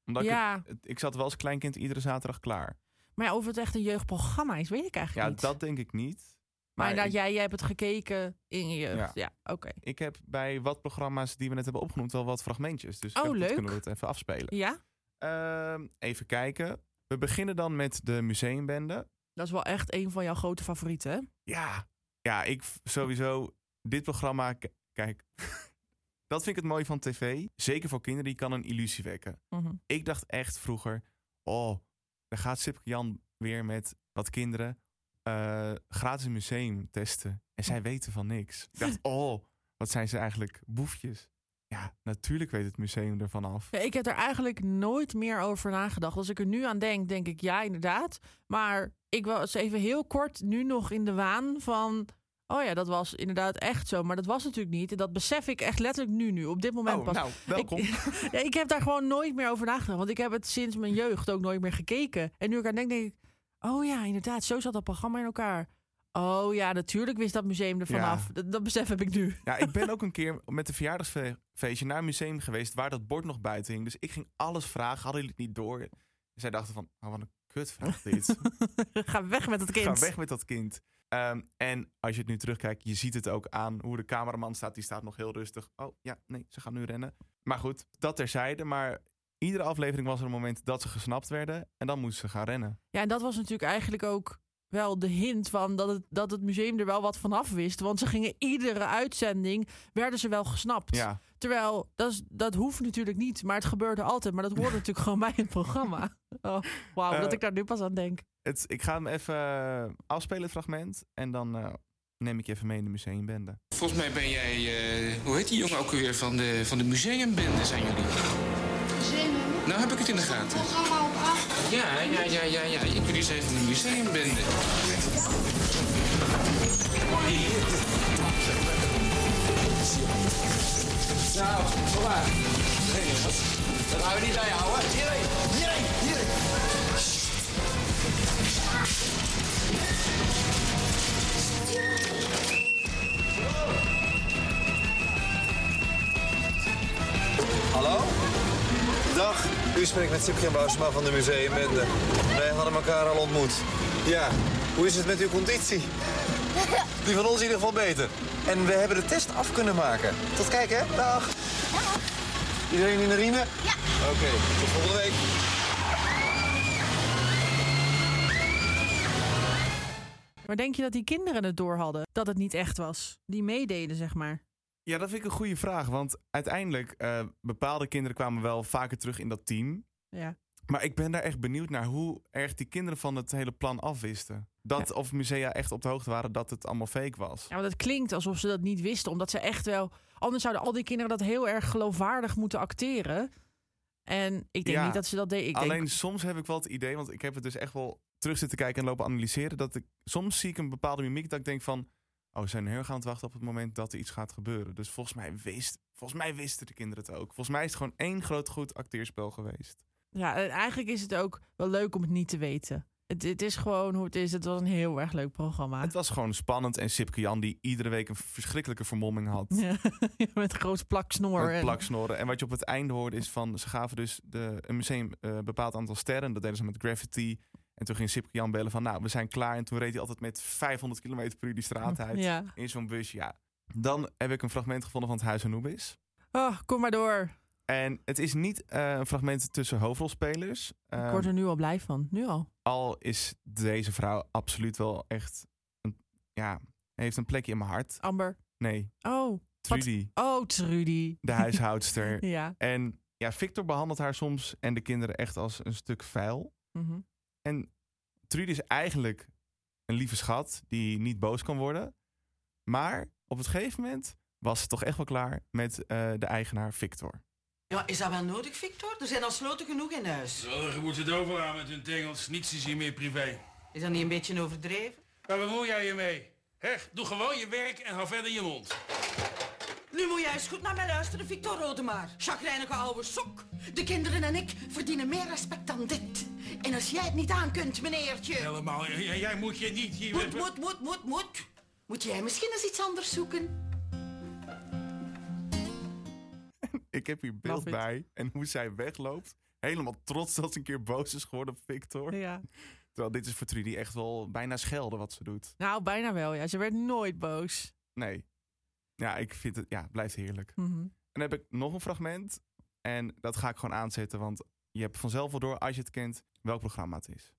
Omdat Nou, ik, ja. het- ik zat wel als kleinkind iedere zaterdag klaar. Maar ja, of het echt een jeugdprogramma is, weet ik eigenlijk Ja, niet. dat denk ik niet. maar Maar inderdaad, ik, jij, jij hebt het gekeken in je jeugd. Ja, Ja. oké. ik heb bij wat programma's die we net hebben opgenoemd wel wat fragmentjes. Dus ik Oh, dacht, dat leuk. kunnen we het even afspelen. Ja? Ehm, even kijken. We beginnen dan met de museumbende. Dat is wel echt een van jouw grote favorieten. hè? Ja, ja, ik v- sowieso. Dit programma, k- kijk, dat vind ik het mooi van Mhm. tv. Zeker voor kinderen, die kan een illusie wekken. Ik dacht echt vroeger, oh, Dan gaat Sipke Jan weer met wat kinderen eh, gratis een museum testen. En zij weten van niks. Ik dacht, oh, wat zijn ze eigenlijk boefjes. Ja, natuurlijk weet het museum ervan af. Ja, ik heb er eigenlijk nooit meer over nagedacht. Als ik er nu aan denk, denk ik ja, inderdaad. Maar ik was even heel kort nu nog in de waan van. Oh ja, dat was inderdaad echt zo. Maar dat was natuurlijk niet. En dat besef ik echt letterlijk nu, nu. Op dit moment Oh, pas. nou, welkom. Ik, ja, ik heb daar gewoon nooit meer over nagedacht. Want ik heb het sinds mijn jeugd ook nooit meer gekeken. En nu ik aan denk, denk ik... Oh ja, inderdaad, zo zat dat programma in elkaar. Oh ja, natuurlijk wist dat museum er Ja. vanaf. Dat, dat besef heb ik nu. Ja, Nou, ik ben ook een keer met een verjaardagsfeestje naar een museum geweest waar dat bord nog buiten hing. Dus ik ging alles vragen, hadden jullie het niet door? En zij dachten van, oh, wat een kutvraag dit. Ga weg met het kind. Ga weg met dat kind. Ehm, en als je het nu terugkijkt, je ziet het ook aan hoe de cameraman staat. Die staat nog heel rustig. Oh ja, nee, ze gaan nu rennen. Maar goed, dat terzijde. Maar iedere aflevering was er een moment dat ze gesnapt werden. En dan moesten ze gaan rennen. Ja, en dat was natuurlijk eigenlijk ook wel de hint van dat het, dat het museum er wel wat van af wist. Want ze gingen iedere uitzending, werden ze wel gesnapt. Ja, Terwijl, dat, is, dat hoeft natuurlijk niet, maar het gebeurde altijd. Maar dat hoorde natuurlijk gewoon bij het programma. Oh, Wauw, dat Eh. ik daar nu pas aan denk. het, ik ga hem even eh, afspelen, het fragment. En dan eh, neem ik je even mee in de museumbende. Volgens mij ben jij, eh, hoe heet die jongen ook alweer, van de, van de museumbende zijn jullie. Nou heb ik het in de gaten. Programma op af. Ja, ja, ja, ja, ja. Jullie zijn van de museumbende. Nou, kom maar. Nee, dat, dat gaan we niet bijhouden. Hierheen, hierheen, hierheen. Hallo? Dag, u spreekt met Sipke Bousma van de Museum Mende. Wij hadden elkaar al ontmoet. Ja, hoe is het met uw conditie? Die van ons in ieder geval beter. En we hebben de test af kunnen maken. Tot kijk, hè? Dag. Iedereen in de riemen? Ja. Oké, tot volgende week. Maar denk je dat die kinderen het door hadden? Dat het niet echt was? Die meededen, zeg maar. Ja, dat vind ik een goede vraag. Want uiteindelijk, eh, bepaalde kinderen kwamen wel vaker terug in dat team. Ja. Maar ik ben daar echt benieuwd naar hoe erg die kinderen van het hele plan afwisten. Dat of musea echt op de hoogte waren dat het allemaal fake was. Ja, maar dat klinkt alsof ze dat niet wisten. Omdat ze echt wel. Anders zouden al die kinderen dat heel erg geloofwaardig moeten acteren. En ik denk Ja, niet dat ze dat deden. Ik Alleen denk, soms heb ik wel het idee, want ik heb het dus echt wel terug zitten kijken en lopen analyseren. Dat ik soms zie ik een bepaalde mimiek dat ik denk van. Oh, ze zijn heel erg aan het wachten op het moment dat er iets gaat gebeuren. Dus volgens mij, wist, volgens mij wisten de kinderen het ook. Volgens mij is het gewoon één groot goed acteerspel geweest. Ja, en eigenlijk is het ook wel leuk om het niet te weten. Het, het is gewoon hoe het is. Het was een heel erg leuk programma. Het was gewoon spannend. En Sipke Jan, die iedere week een verschrikkelijke vermomming had. Ja, met een groot plak snor. Met en- plaksnorren. En wat je op het einde hoorde is van... ze gaven dus de, een museum eh, een bepaald aantal sterren. Dat deden ze met graffiti. En toen ging Sipke Jan bellen van... nou, we zijn klaar. En toen reed hij altijd met 500 km per uur die straat uit. Ja. In zo'n bus, ja. Dan heb ik een fragment gevonden van het Huis Anubis. Oh, kom maar door. En het is niet eh, een fragment tussen hoofdrolspelers. Ik Ehm, word er nu al blij van. Nu al. al is deze vrouw absoluut wel echt... Een, ja, heeft een plekje in mijn hart. Amber. Nee, Oh. Wat? Trudy, Oh, Trudy. de huishoudster. Ja. En ja, Victor behandelt haar soms en de kinderen echt als een stuk vuil. Mhm. En Trudy is eigenlijk een lieve schat die niet boos kan worden. Maar op het gegeven moment was ze toch echt wel klaar met eh, de eigenaar Victor. Ja, is dat wel nodig, Victor? Er zijn al sloten genoeg in huis. Je moet het overgaan met hun tengels. Niets is hier meer privé. Is dat niet een beetje overdreven? Waar bemoei jij je mee? Hech, doe gewoon je werk en hou verder je mond. Nu moet jij eens goed naar mij luisteren, Victor Rodemaar. Chagrijnige oude sok. De kinderen en ik verdienen meer respect dan dit. En als jij het niet aan kunt, meneertje, Helemaal, j- j- jij moet je niet hier... Moet, moet, moet, moet, moet. moet jij misschien eens iets anders zoeken. Ik heb hier beeld Love it. bij en hoe zij wegloopt. Helemaal trots dat ze een keer boos is geworden op Victor. ja. Terwijl dit is voor Trudy echt wel bijna schelden wat ze doet. Nou, bijna wel. Ja, ze werd nooit boos. Nee. Ja, ik vind het, ja, het blijft heerlijk. Mhm. En dan heb ik nog een fragment. En dat ga ik gewoon aanzetten, want je hebt vanzelf wel door, als je het kent, welk programma het is.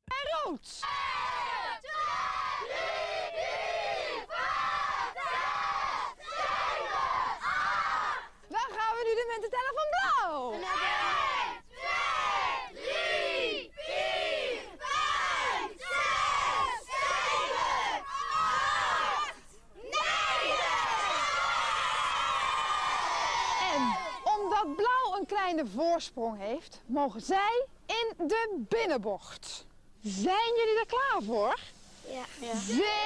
Dan gaan we nu de mensen tellen van blauw. 1, 2, 3, 4, 5, de voorsprong heeft, mogen zij in de binnenbocht. Zijn jullie er klaar voor? Ja. Zigzag!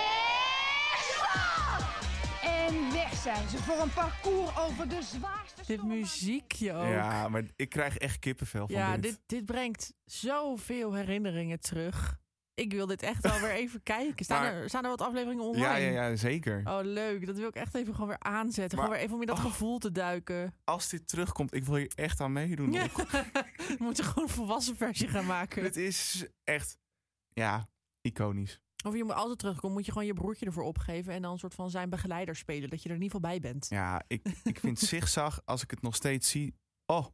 En weg zijn ze voor een parcours over de zwaarste... Dit muziekje ook. Ja, maar ik krijg echt kippenvel van Ja, dit. dit, dit brengt zoveel herinneringen terug. Ik wil dit echt wel weer even kijken. Staan, Maar- er, staan er wat afleveringen online? Ja, ja, ja, zeker. Oh, leuk. Dat wil ik echt even gewoon weer aanzetten. Maar- Oh. gewoon weer even om in dat gevoel te duiken. Als dit terugkomt, ik wil je echt aan meedoen. Ja. We moeten gewoon een volwassen versie gaan maken. Het is echt, ja, iconisch. Of je moet altijd terugkomen, moet je gewoon je broertje ervoor opgeven. En dan een soort van zijn begeleider spelen. Dat je er in ieder geval bij bent. Ja, ik, ik vind zigzag, als ik het nog steeds zie... Oh,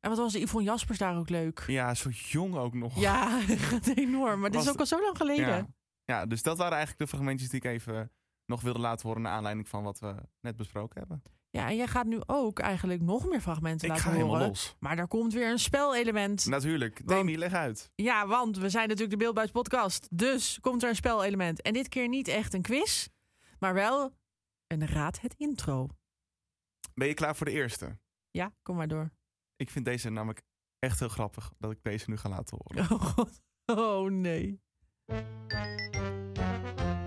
En wat was Yvonne Jaspers daar ook leuk? ja, zo jong ook nog. Ja, gaat enorm. Maar dit is Was- ook al zo lang geleden. Ja. ja, dus dat waren eigenlijk de fragmentjes die ik even nog wilde laten horen... naar aanleiding van wat we net besproken hebben. Ja, en jij gaat nu ook eigenlijk nog meer fragmenten Ik laten ga horen. helemaal los. Maar daar komt weer een spelelement. Natuurlijk, Demi, leg uit. Ja, want we zijn natuurlijk de Beeldbuis podcast. Dus komt er een spelelement. En dit keer niet echt een quiz, maar wel een raad het intro. Ben je klaar voor de eerste? Ja, kom maar door. Ik vind deze namelijk echt heel grappig dat ik deze nu ga laten horen. Oh god. Oh nee.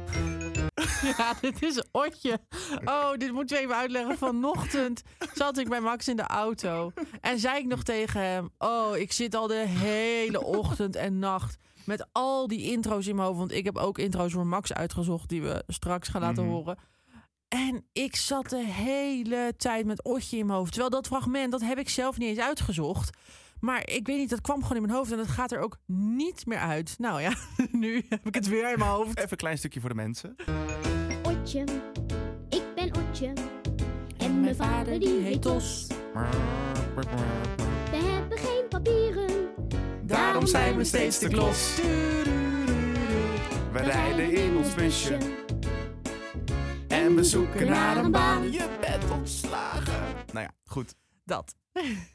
Ja, dit is Otje. Oh, dit moeten we even uitleggen. Vanochtend zat ik bij Max in de auto. En zei ik nog tegen hem: Oh, ik zit al de hele ochtend en nacht. Met al die intro's in mijn hoofd. Want ik heb ook intro's voor Max uitgezocht. Die we straks gaan laten Mhm. horen. En ik zat de hele tijd met Otje in mijn hoofd. Terwijl dat fragment, dat heb ik zelf niet eens uitgezocht. Maar ik weet niet, dat kwam gewoon in mijn hoofd. En dat gaat er ook niet meer uit. Nou ja, nu heb ik het weer in mijn hoofd. Even een klein stukje voor de mensen. Otje, ik ben Otje. En mijn vader die heet Tos. We hebben geen papieren. Daarom zijn we steeds de klos. We rijden in ons busje. En we zoeken naar een baan. Je bent ontslagen. Nou ja, goed. Dat.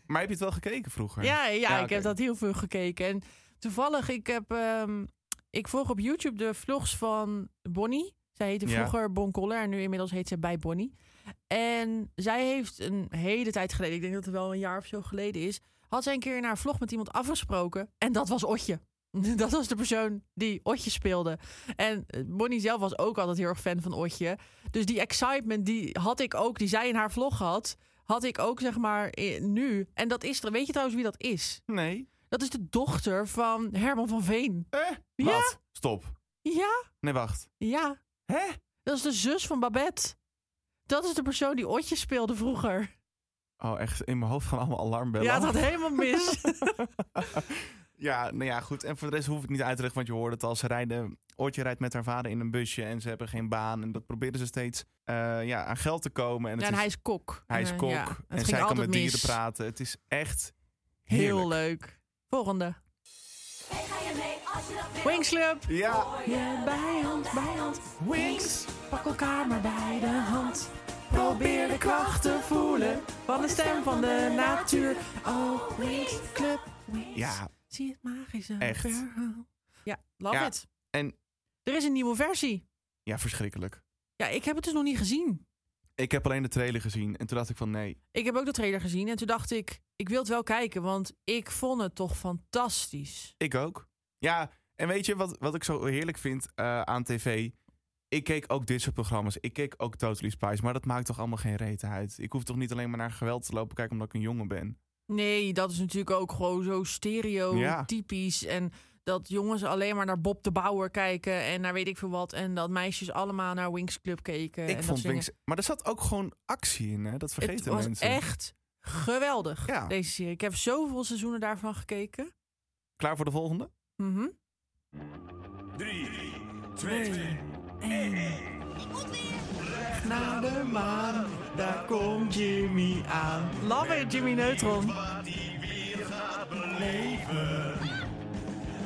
Maar heb je het wel gekeken vroeger? Ja, ja, ik oké. heb dat heel veel gekeken. En toevallig, ik heb. ehm, ik volg op YouTube de vlogs van Bonnie. Zij heette Ja. vroeger Bon Coller en nu inmiddels heet ze bij Bonnie. En zij heeft een hele tijd geleden, ik denk dat het wel een jaar of zo geleden is, had zij een keer in haar vlog met iemand afgesproken. En dat was Otje. Dat was de persoon die Otje speelde. En eh, Bonnie zelf was ook altijd heel erg fan van Otje. Dus die excitement die had ik ook, die zij in haar vlog had, had ik ook zeg maar eh, nu. En dat is er. Weet je trouwens wie dat is? Nee. Dat is de dochter van Herman van Veen. ja? Wat? Stop. Ja? Nee, wacht. Ja. Hè? Dat is de zus van Babette. Dat is de persoon die Otje speelde vroeger. Oh, echt. In mijn hoofd gaan allemaal alarmbellen. ja, het had helemaal mis. Ja, nou ja, goed. En voor de rest hoef ik het niet uit te leggen, want je hoort het al. Ze rijden, Oortje rijdt met haar vader in een busje en ze hebben geen baan. En dat proberen ze steeds eh, ja, aan geld te komen. En, het Ja, en is- hij is kok. Hij is Eh, kok. ja, het en ging zij kan altijd met dieren mis. praten. Het is echt Heel leuk. Volgende. Wings Club. Ja. Je bijhand, bijhand. Wings. Pak elkaar maar bij de hand. Probeer de kracht te voelen van de stem van de natuur. Oh, Wings Club. Wings. Ja, Zie het magische Echt. verhaal. Ja, love Ja, it. en- Er is een nieuwe versie. ja, verschrikkelijk. Ja, ik heb het dus nog niet gezien. Ik heb alleen de trailer gezien en toen dacht ik van nee. Ik heb ook de trailer gezien en toen dacht ik, ik wil het wel kijken, want ik vond het toch fantastisch. Ik ook. Ja, en weet je wat, wat ik zo heerlijk vind eh, aan tv? Ik keek ook dit soort programma's. Ik keek ook Totally Spies, maar dat maakt toch allemaal geen reet uit. Ik hoef toch niet alleen maar naar geweld te lopen kijken omdat ik een jongen ben. Nee, dat is natuurlijk ook gewoon zo stereotypisch. En dat jongens alleen maar naar Bob de Bouwer kijken en naar weet ik veel wat. En dat meisjes allemaal naar Wings Club keken. en ik dat vond soort dingen. Wings... Maar er zat ook gewoon actie in, hè? Dat Het vergeten was mensen. echt geweldig, Ja. deze serie. Ik heb zoveel seizoenen daarvan gekeken. Klaar voor de volgende? Mhm. Twee. Naar de maan, daar komt Jimmy aan. Love it, Jimmy Neutron.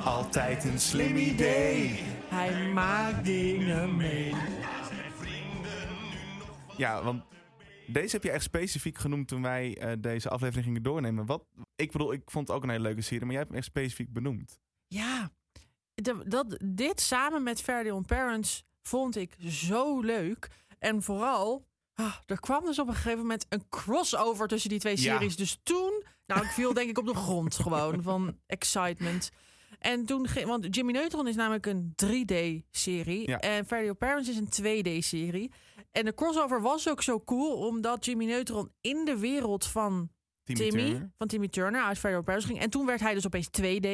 Altijd een slim idee. Hij maakt dingen mee. Ja, want deze heb je echt specifiek genoemd toen wij eh, deze aflevering gingen doornemen. Wat, ik bedoel, ik vond het ook een hele leuke serie, maar jij hebt hem echt specifiek benoemd. Ja, de- dat, dit samen met Verdi on Parents vond ik zo leuk. En vooral, ah, er kwam dus op een gegeven moment een crossover tussen die twee Ja. series. Dus toen Nou, ik viel denk ik op de grond gewoon van excitement. En toen, ging- want Jimmy Neutron is namelijk een 3D-serie. Ja. En Fairly Odd Parents is een 2D-serie. En de crossover was ook zo cool, omdat Jimmy Neutron in de wereld van Timmy Timmy, Turner. van Timmy Turner uit Fairly Odd Parents ging. En toen werd hij dus opeens 2D.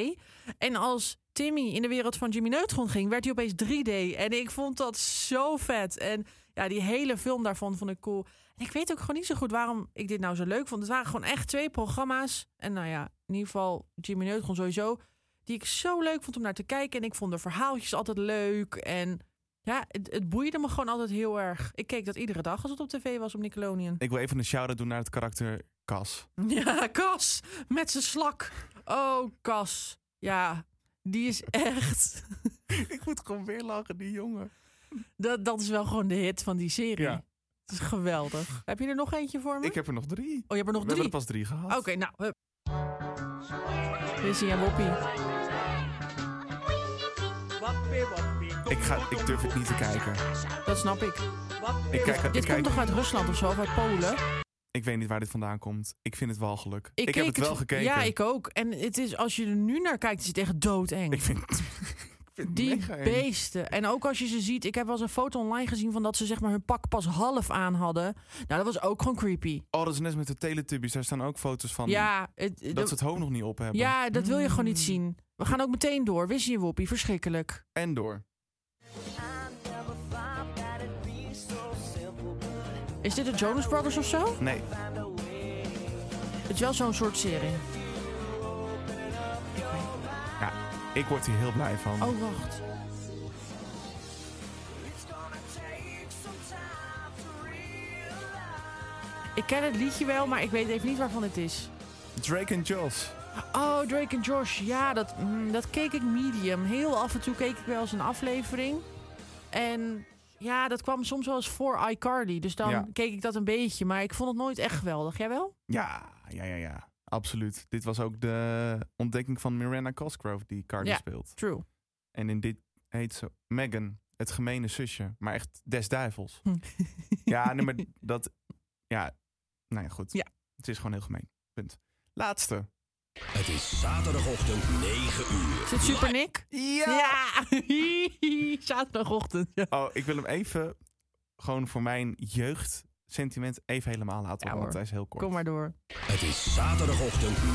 En als Timmy in de wereld van Jimmy Neutron ging, werd hij opeens 3D. En ik vond dat zo vet. En ja, die hele film daarvan vond ik cool. En ik weet ook gewoon niet zo goed waarom ik dit nou zo leuk vond. Het waren gewoon echt twee programma's. En nou ja, in ieder geval Jimmy Neutron sowieso. Die ik zo leuk vond om naar te kijken. En ik vond de verhaaltjes altijd leuk. En ja, het, het boeide me gewoon altijd heel erg. Ik keek dat iedere dag als het op tv was op Nickelodeon. Ik wil even een shout-out doen naar het karakter Cas. Ja, Cas met zijn slak. Oh, Cas. Ja, die is echt. ik moet gewoon weer lachen, die jongen. Dat, dat is wel gewoon de hit van die serie. Ja. Dat is geweldig. Heb je er nog eentje voor me? Ik heb er nog drie. Oh, je hebt er nog We drie? hebben er pas drie gehad. Oké, nou. hup. Wizzy en Woppie. Ik, ga, ik durf het niet te kijken. Dat snap ik. Ik kijk- ik dit kijk- komt toch uit Rusland of zo, of uit Polen? Ik weet niet waar dit vandaan komt. Ik vind het wel geluk. Ik, keek heb het wel gekeken. Ja, ik ook. En het is, als je er nu naar kijkt, is het echt doodeng. Ik vind, Die mega eng. beesten. En ook als je ze ziet, ik heb wel eens een foto online gezien van dat ze zeg maar hun pak pas half aan hadden. Nou, dat was ook gewoon creepy. Oh, dat is net met de Teletubbies. Daar staan ook foto's van. Ja, het- Oh, dat dat- ze het hoofd nog niet op hebben. Ja, dat wil je gewoon niet zien. We gaan ook meteen door. Wist je, Woppie? Verschrikkelijk. En door. Is dit de Jonas Brothers of zo? Nee. Het is wel zo'n soort serie. Ja, ik word hier heel blij van. Oh, wacht. Ik ken het liedje wel, maar ik weet even niet waarvan het is. Drake en Josh. Oh, Drake en Josh. Ja, dat, mm, dat keek ik medium. Heel af en toe keek ik wel eens een aflevering. En ja, dat kwam soms wel eens voor iCarly. Dus dan Ja. keek ik dat een beetje. Maar ik vond het nooit echt geweldig. Jij wel? Ja, ja, ja, ja. Absoluut. Dit was ook de ontdekking van Miranda Cosgrove die Cardi Ja, speelt. true. En in dit heet ze Megan, het gemene zusje. Maar echt des duivels. Hm. ja, nee, maar dat... Ja, nou ja, goed. Ja. Het is gewoon heel gemeen. Punt. Laatste. Het is zaterdagochtend 9 uur. Is dit Super Nick? Ja! Zaterdagochtend. Oh, ik wil hem even, gewoon voor mijn jeugdsentiment, even helemaal laten horen. want hij is heel kort. Kom maar door. Het is zaterdagochtend 9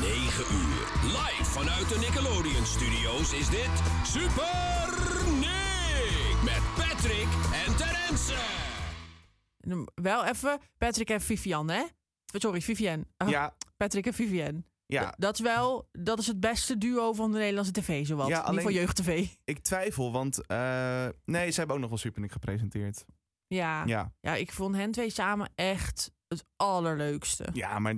uur. Live vanuit de Nickelodeon Studios is dit Super Nick met Patrick en Terence. En dan Ehm, Wel even Patrick en Vivian, hè? Eh, Sorry, Vivian. Oh, Ja. Patrick en Vivian. Ja. Dat is wel, dat is het beste duo van de Nederlandse tv, zowat. In ieder geval jeugd tv. Ik twijfel, want eh, nee, ze hebben ook nog wel Super Nick gepresenteerd. Ja. Ja. ik vond hen twee samen echt het allerleukste. Ja, maar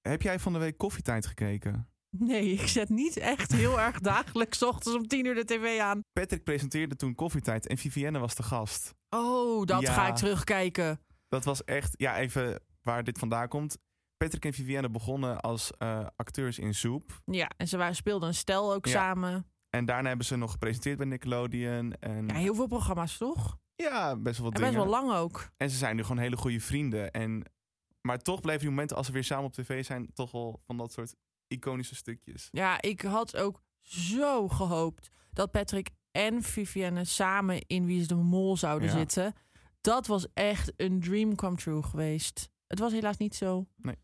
heb jij van de week koffietijd gekeken? Nee, ik zet niet echt heel erg dagelijks 's ochtends om tien uur de tv aan. Patrick presenteerde toen koffietijd en Vivienne was de gast. Oh, dat Ja. ga ik terugkijken. Dat was echt, ja, even waar dit vandaan komt. Patrick en Vivienne begonnen als eh, acteurs in Zoep. Ja, en ze waren, speelden een stel ook Ja. samen. En daarna hebben ze nog gepresenteerd bij Nickelodeon. En Ja, heel veel programma's, toch? Ja, best wel wat En best dingen. wel lang ook. En ze zijn nu gewoon hele goede vrienden. En, maar toch blijven die momenten als ze weer samen op tv zijn... toch wel van dat soort iconische stukjes. Ja, ik had ook zo gehoopt dat Patrick en Vivienne samen in Wie is de Mol zouden Ja. zitten. Dat was echt een dream come true geweest. Het was helaas niet zo. Nee.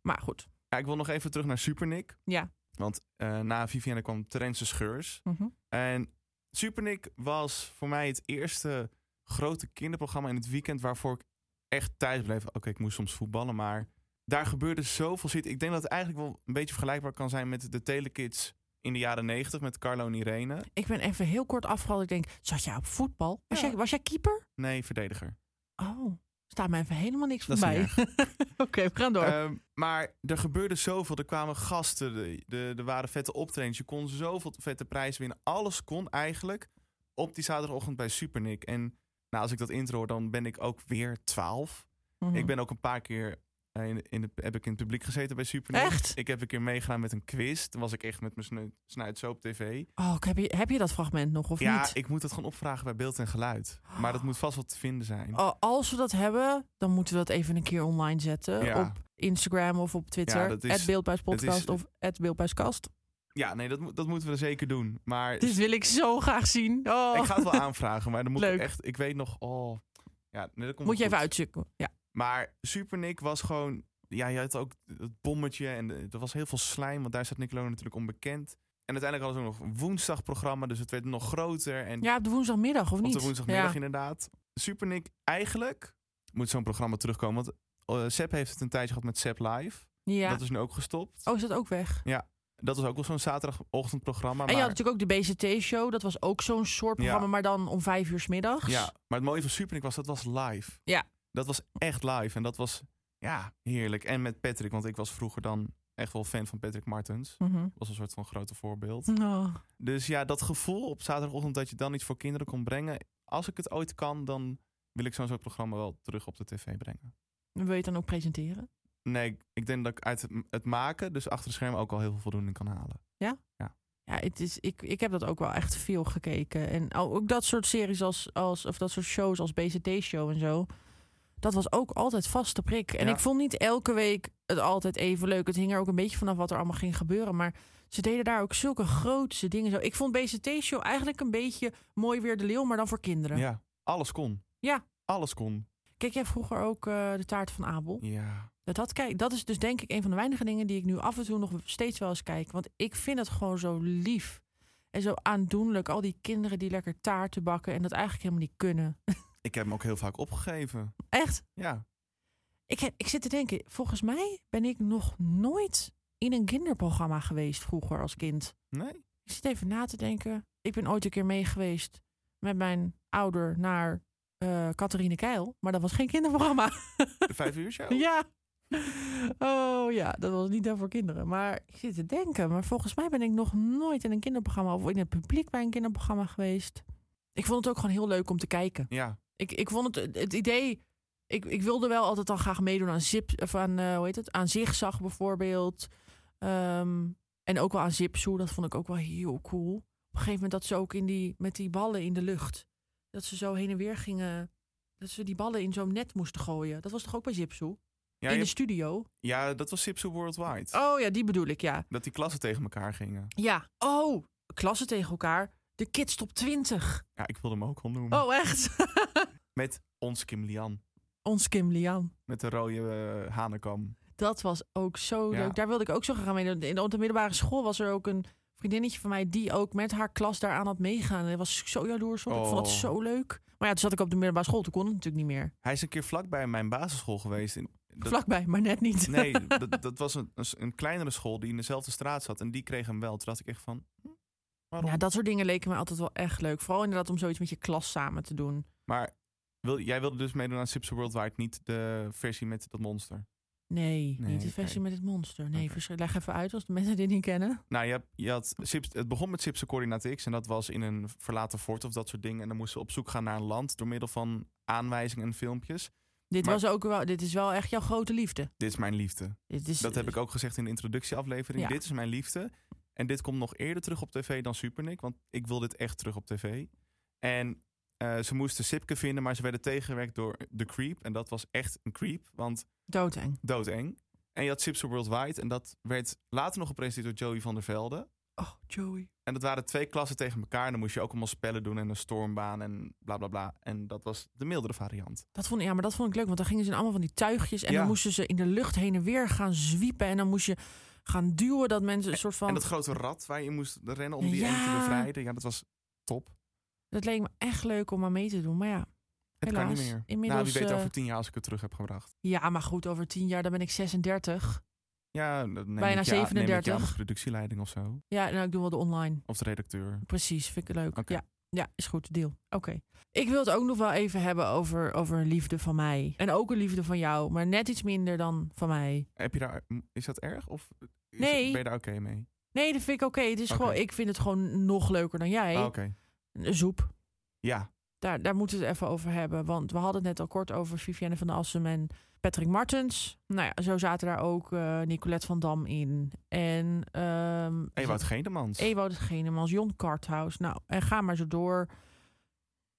Maar goed, Ja, ik wil nog even terug naar Supernick. ja. Want eh, na Vivienne kwam Terence Scheurs. Mhm. En Supernick was voor mij het eerste grote kinderprogramma in het weekend... waarvoor ik echt thuis bleef. Oké, ik moest soms voetballen, maar daar gebeurde zoveel shit. Ik denk dat het eigenlijk wel een beetje vergelijkbaar kan zijn... met de Telekids in de jaren 90 met Carlo en Irene. Ik ben even heel kort afgevallen. Ik denk, zat jij op voetbal? Was, jij, was jij keeper? Nee, verdediger. Oh, staat mij even helemaal niks Dat van is bij. niet Oké, we gaan door. Ehm, maar er gebeurde zoveel. Er kwamen gasten, de- de- er waren vette optredens. Je kon zoveel vette prijzen winnen. Alles kon eigenlijk op die zaterdagochtend bij Supernick. En nou, als ik dat intro hoor, dan ben ik ook weer 12. Mhm. Ik ben ook een paar keer eh, in, in de, heb ik in het publiek gezeten bij Supernick. Echt? Ik heb een keer meegedaan met een quiz. Toen was ik echt met mijn snu- snuit zo op tv. Oh, ik heb, je, heb je dat fragment nog of ja, niet? ik moet dat gewoon opvragen bij beeld en geluid. Maar dat moet vast wel te vinden zijn. Oh, als we dat hebben, dan moeten we dat even een keer online zetten. Ja. Op, Instagram of op Twitter. Ja, dat is- het Beeldbuispodcast dat is- Eh, of het Beeldbuiskast. Ja, nee, dat, moet- dat moeten we zeker doen. Maar Dit wil ik zo graag zien. Oh. ik ga het wel aanvragen, maar dan moet Leuk. ik echt... Ik weet nog... Oh, ja, nee, dat komt Moet je wel even goed. uitzoeken. Ja. Maar Super Nick was gewoon... Ja, je had ook het bommetje en de- er was heel veel slijm, want daar staat Nickelodeon natuurlijk onbekend. En uiteindelijk hadden ze ook nog een woensdagprogramma, dus het werd nog groter. En ja, op de woensdagmiddag of niet? Op de woensdagmiddag Ja. inderdaad. Super Nick, eigenlijk moet zo'n programma terugkomen. Want eh Sepp heeft het een tijdje gehad met Sepp Live. Ja. Dat is nu ook gestopt. Oh, is dat ook weg? Ja, dat was ook wel zo'n zaterdagochtendprogramma. En je maar... had natuurlijk ook de BCT-show. Dat was ook zo'n soort Ja. programma, maar dan om vijf uur 's middags. Ja, maar het mooie van Supernik was, dat was live. Ja. Dat was echt live en dat was ja, heerlijk. En met Patrick, want ik was vroeger dan echt wel fan van Patrick Martens. Mhm. Was een soort van grote voorbeeld. Oh. Dus ja, dat gevoel op zaterdagochtend dat je dan iets voor kinderen kon brengen. Als ik het ooit kan, dan wil ik zo'n soort programma wel terug op de tv brengen. Wil je het dan ook presenteren? Nee, ik- ik denk dat ik uit het, het maken, dus achter de schermen, ook al heel veel voldoening kan halen. Ja? Ja. Ja, het is, ik, ik heb dat ook wel echt veel gekeken. En al- ook dat soort series als, als of dat soort shows als BCT-show en zo. Dat was ook altijd vaste prik. En Ja. ik vond niet elke week het altijd even leuk. Het hing er ook een beetje vanaf wat er allemaal ging gebeuren. Maar ze deden daar ook zulke grootse dingen. Zo. Ik vond BCT-show eigenlijk een beetje mooi weer de leeuw, maar dan voor kinderen. Ja, alles kon. Ja. Alles kon. Kijk jij vroeger ook eh, de taart van Abel? Ja. Dat, dat, kijk, dat is dus denk ik een van de weinige dingen die ik nu af en toe nog steeds wel eens kijk. Want ik vind het gewoon zo lief. En zo aandoenlijk. Al die kinderen die lekker taarten bakken en dat eigenlijk helemaal niet kunnen. Ik heb hem ook heel vaak opgegeven. Echt? Ja. Ik, heb- ik zit te denken, volgens mij ben ik nog nooit in een kinderprogramma geweest vroeger als kind. Nee? Ik zit even na te denken. Ik ben ooit een keer mee geweest met mijn ouder naar eh Catharine Keil. Maar dat was geen kinderprogramma. De vijf uur show? Ja. Oh ja, dat was niet dan voor kinderen. Maar ik zit te denken, maar volgens mij ben ik nog nooit in een kinderprogramma of in het publiek bij een kinderprogramma geweest. Ik vond het ook gewoon heel leuk om te kijken. Ja. Ik, ik vond het, het idee, ik, ik wilde wel altijd dan graag meedoen aan zip, of aan, eh, hoe heet het, aan zigzag bijvoorbeeld. Ehm, en ook wel aan zipsoe, dat vond ik ook wel heel cool. Op een gegeven moment dat ze ook in die, met die ballen in de lucht, dat ze zo heen en weer gingen, dat ze die ballen in zo'n net moisten gooien. Dat was toch ook bij zipsoe? Ja, in je- de studio. Ja, dat was Sipsu Worldwide. Oh ja, die bedoel ik, ja. Dat die klassen tegen elkaar gingen. Ja. Oh, klassen tegen elkaar. De Kids Top 20. Ja, ik wilde hem ook al noemen. Oh, echt? Met ons Kim Lian. Ons Kim Lian. Met de rode eh, hanekam. Dat was ook zo Ja. leuk. Daar wilde ik ook zo graag aan meedoen. In de, op de middelbare school was er ook een vriendinnetje van mij... die ook met haar klas daaraan had meegaan. En daar was ik zo jaloers op. Ik vond dat Oh. zo leuk. Maar ja, toen zat ik op de middelbare school. Toen kon het natuurlijk niet meer. Hij is een keer vlakbij mijn basisschool geweest. En dat- Vlakbij, maar net niet. Nee, dat, dat was een, een kleinere school die in dezelfde straat zat. En die kreeg hem wel. Toen dacht ik echt van... hm, Ja, dat soort dingen leken me altijd wel echt leuk. Vooral inderdaad om zoiets met je klas samen te doen. Maar wil, jij wilde dus meedoen aan Sipsu Worldwide, niet de versie met dat monster. Nee, Nee, niet de oké. versie met het monster. Nee, verschil- leg even uit als de mensen dit niet kennen. Nou, je, hebt- je had Sips, het begon met Sipse Coördinaat X en dat was in een verlaten fort of dat soort dingen. En dan moesten ze op zoek gaan naar een land door middel van aanwijzingen en filmpjes. Dit, Maar- was ook wel, dit is wel echt jouw grote liefde. Dit is mijn liefde. Dit is- dat heb ik ook gezegd in de introductieaflevering. Ja. Dit is mijn liefde. En dit komt nog eerder terug op tv dan Supernik, want ik wil dit echt terug op tv. En eh, ze moesten Sipke vinden, maar ze werden tegengewerkt door The Creep. En dat was echt een creep, want Doodeng. doodeng. En je had Sipse Worldwide en dat werd later nog gepresenteerd door Joey van der Velde. Oh, Joey. En dat waren twee klassen tegen elkaar. En dan moest je ook allemaal spellen doen en een stormbaan en bla bla bla. En dat was de mildere variant. Dat vond, ja, maar dat vond ik leuk, want dan gingen ze in allemaal van die tuigjes... en Ja. dan moesten ze in de lucht heen en weer gaan zwiepen... en dan moest je gaan duwen dat mensen een soort van... En dat grote rad waar je in moest rennen om die Ja. ene te bevrijden. Ja, dat was top. dat leek me echt leuk om aan mee te doen, maar ja... Het helaas, kan niet meer. Inmiddels, nou, wie weet eh, over tien jaar als ik het terug heb gebracht. Ja, maar goed, over tien jaar, dan ben ik 36. Ja, dat neem Bijna ik je aan- Neem ik je aan 37. als productieleiding of zo. Ja, nou, ik doe wel de online. Of de redacteur. Precies, vind ik leuk. Ja. ja, is goed, deal. Oké. Ik wil het ook nog wel even hebben over, over een liefde van mij. En ook een liefde van jou, maar net iets minder dan van mij. Heb je daar, is dat erg? Of is- Nee. ben je daar oké mee? Nee, dat vind ik oké. Het is Oké. gewoon, ik vind het gewoon nog leuker dan jij. Ah, Oké. Zoep. Ja. Daar, daar moeten we het even over hebben. Want we hadden het net al kort over Vivienne van Assem en Patrick Martens. Nou ja, zo zaten daar ook eh, Nicolette van Dam in. En, ehm Ewout Genemans. Ewout Genemans, Jon Karthaus. Nou, en ga maar zo door.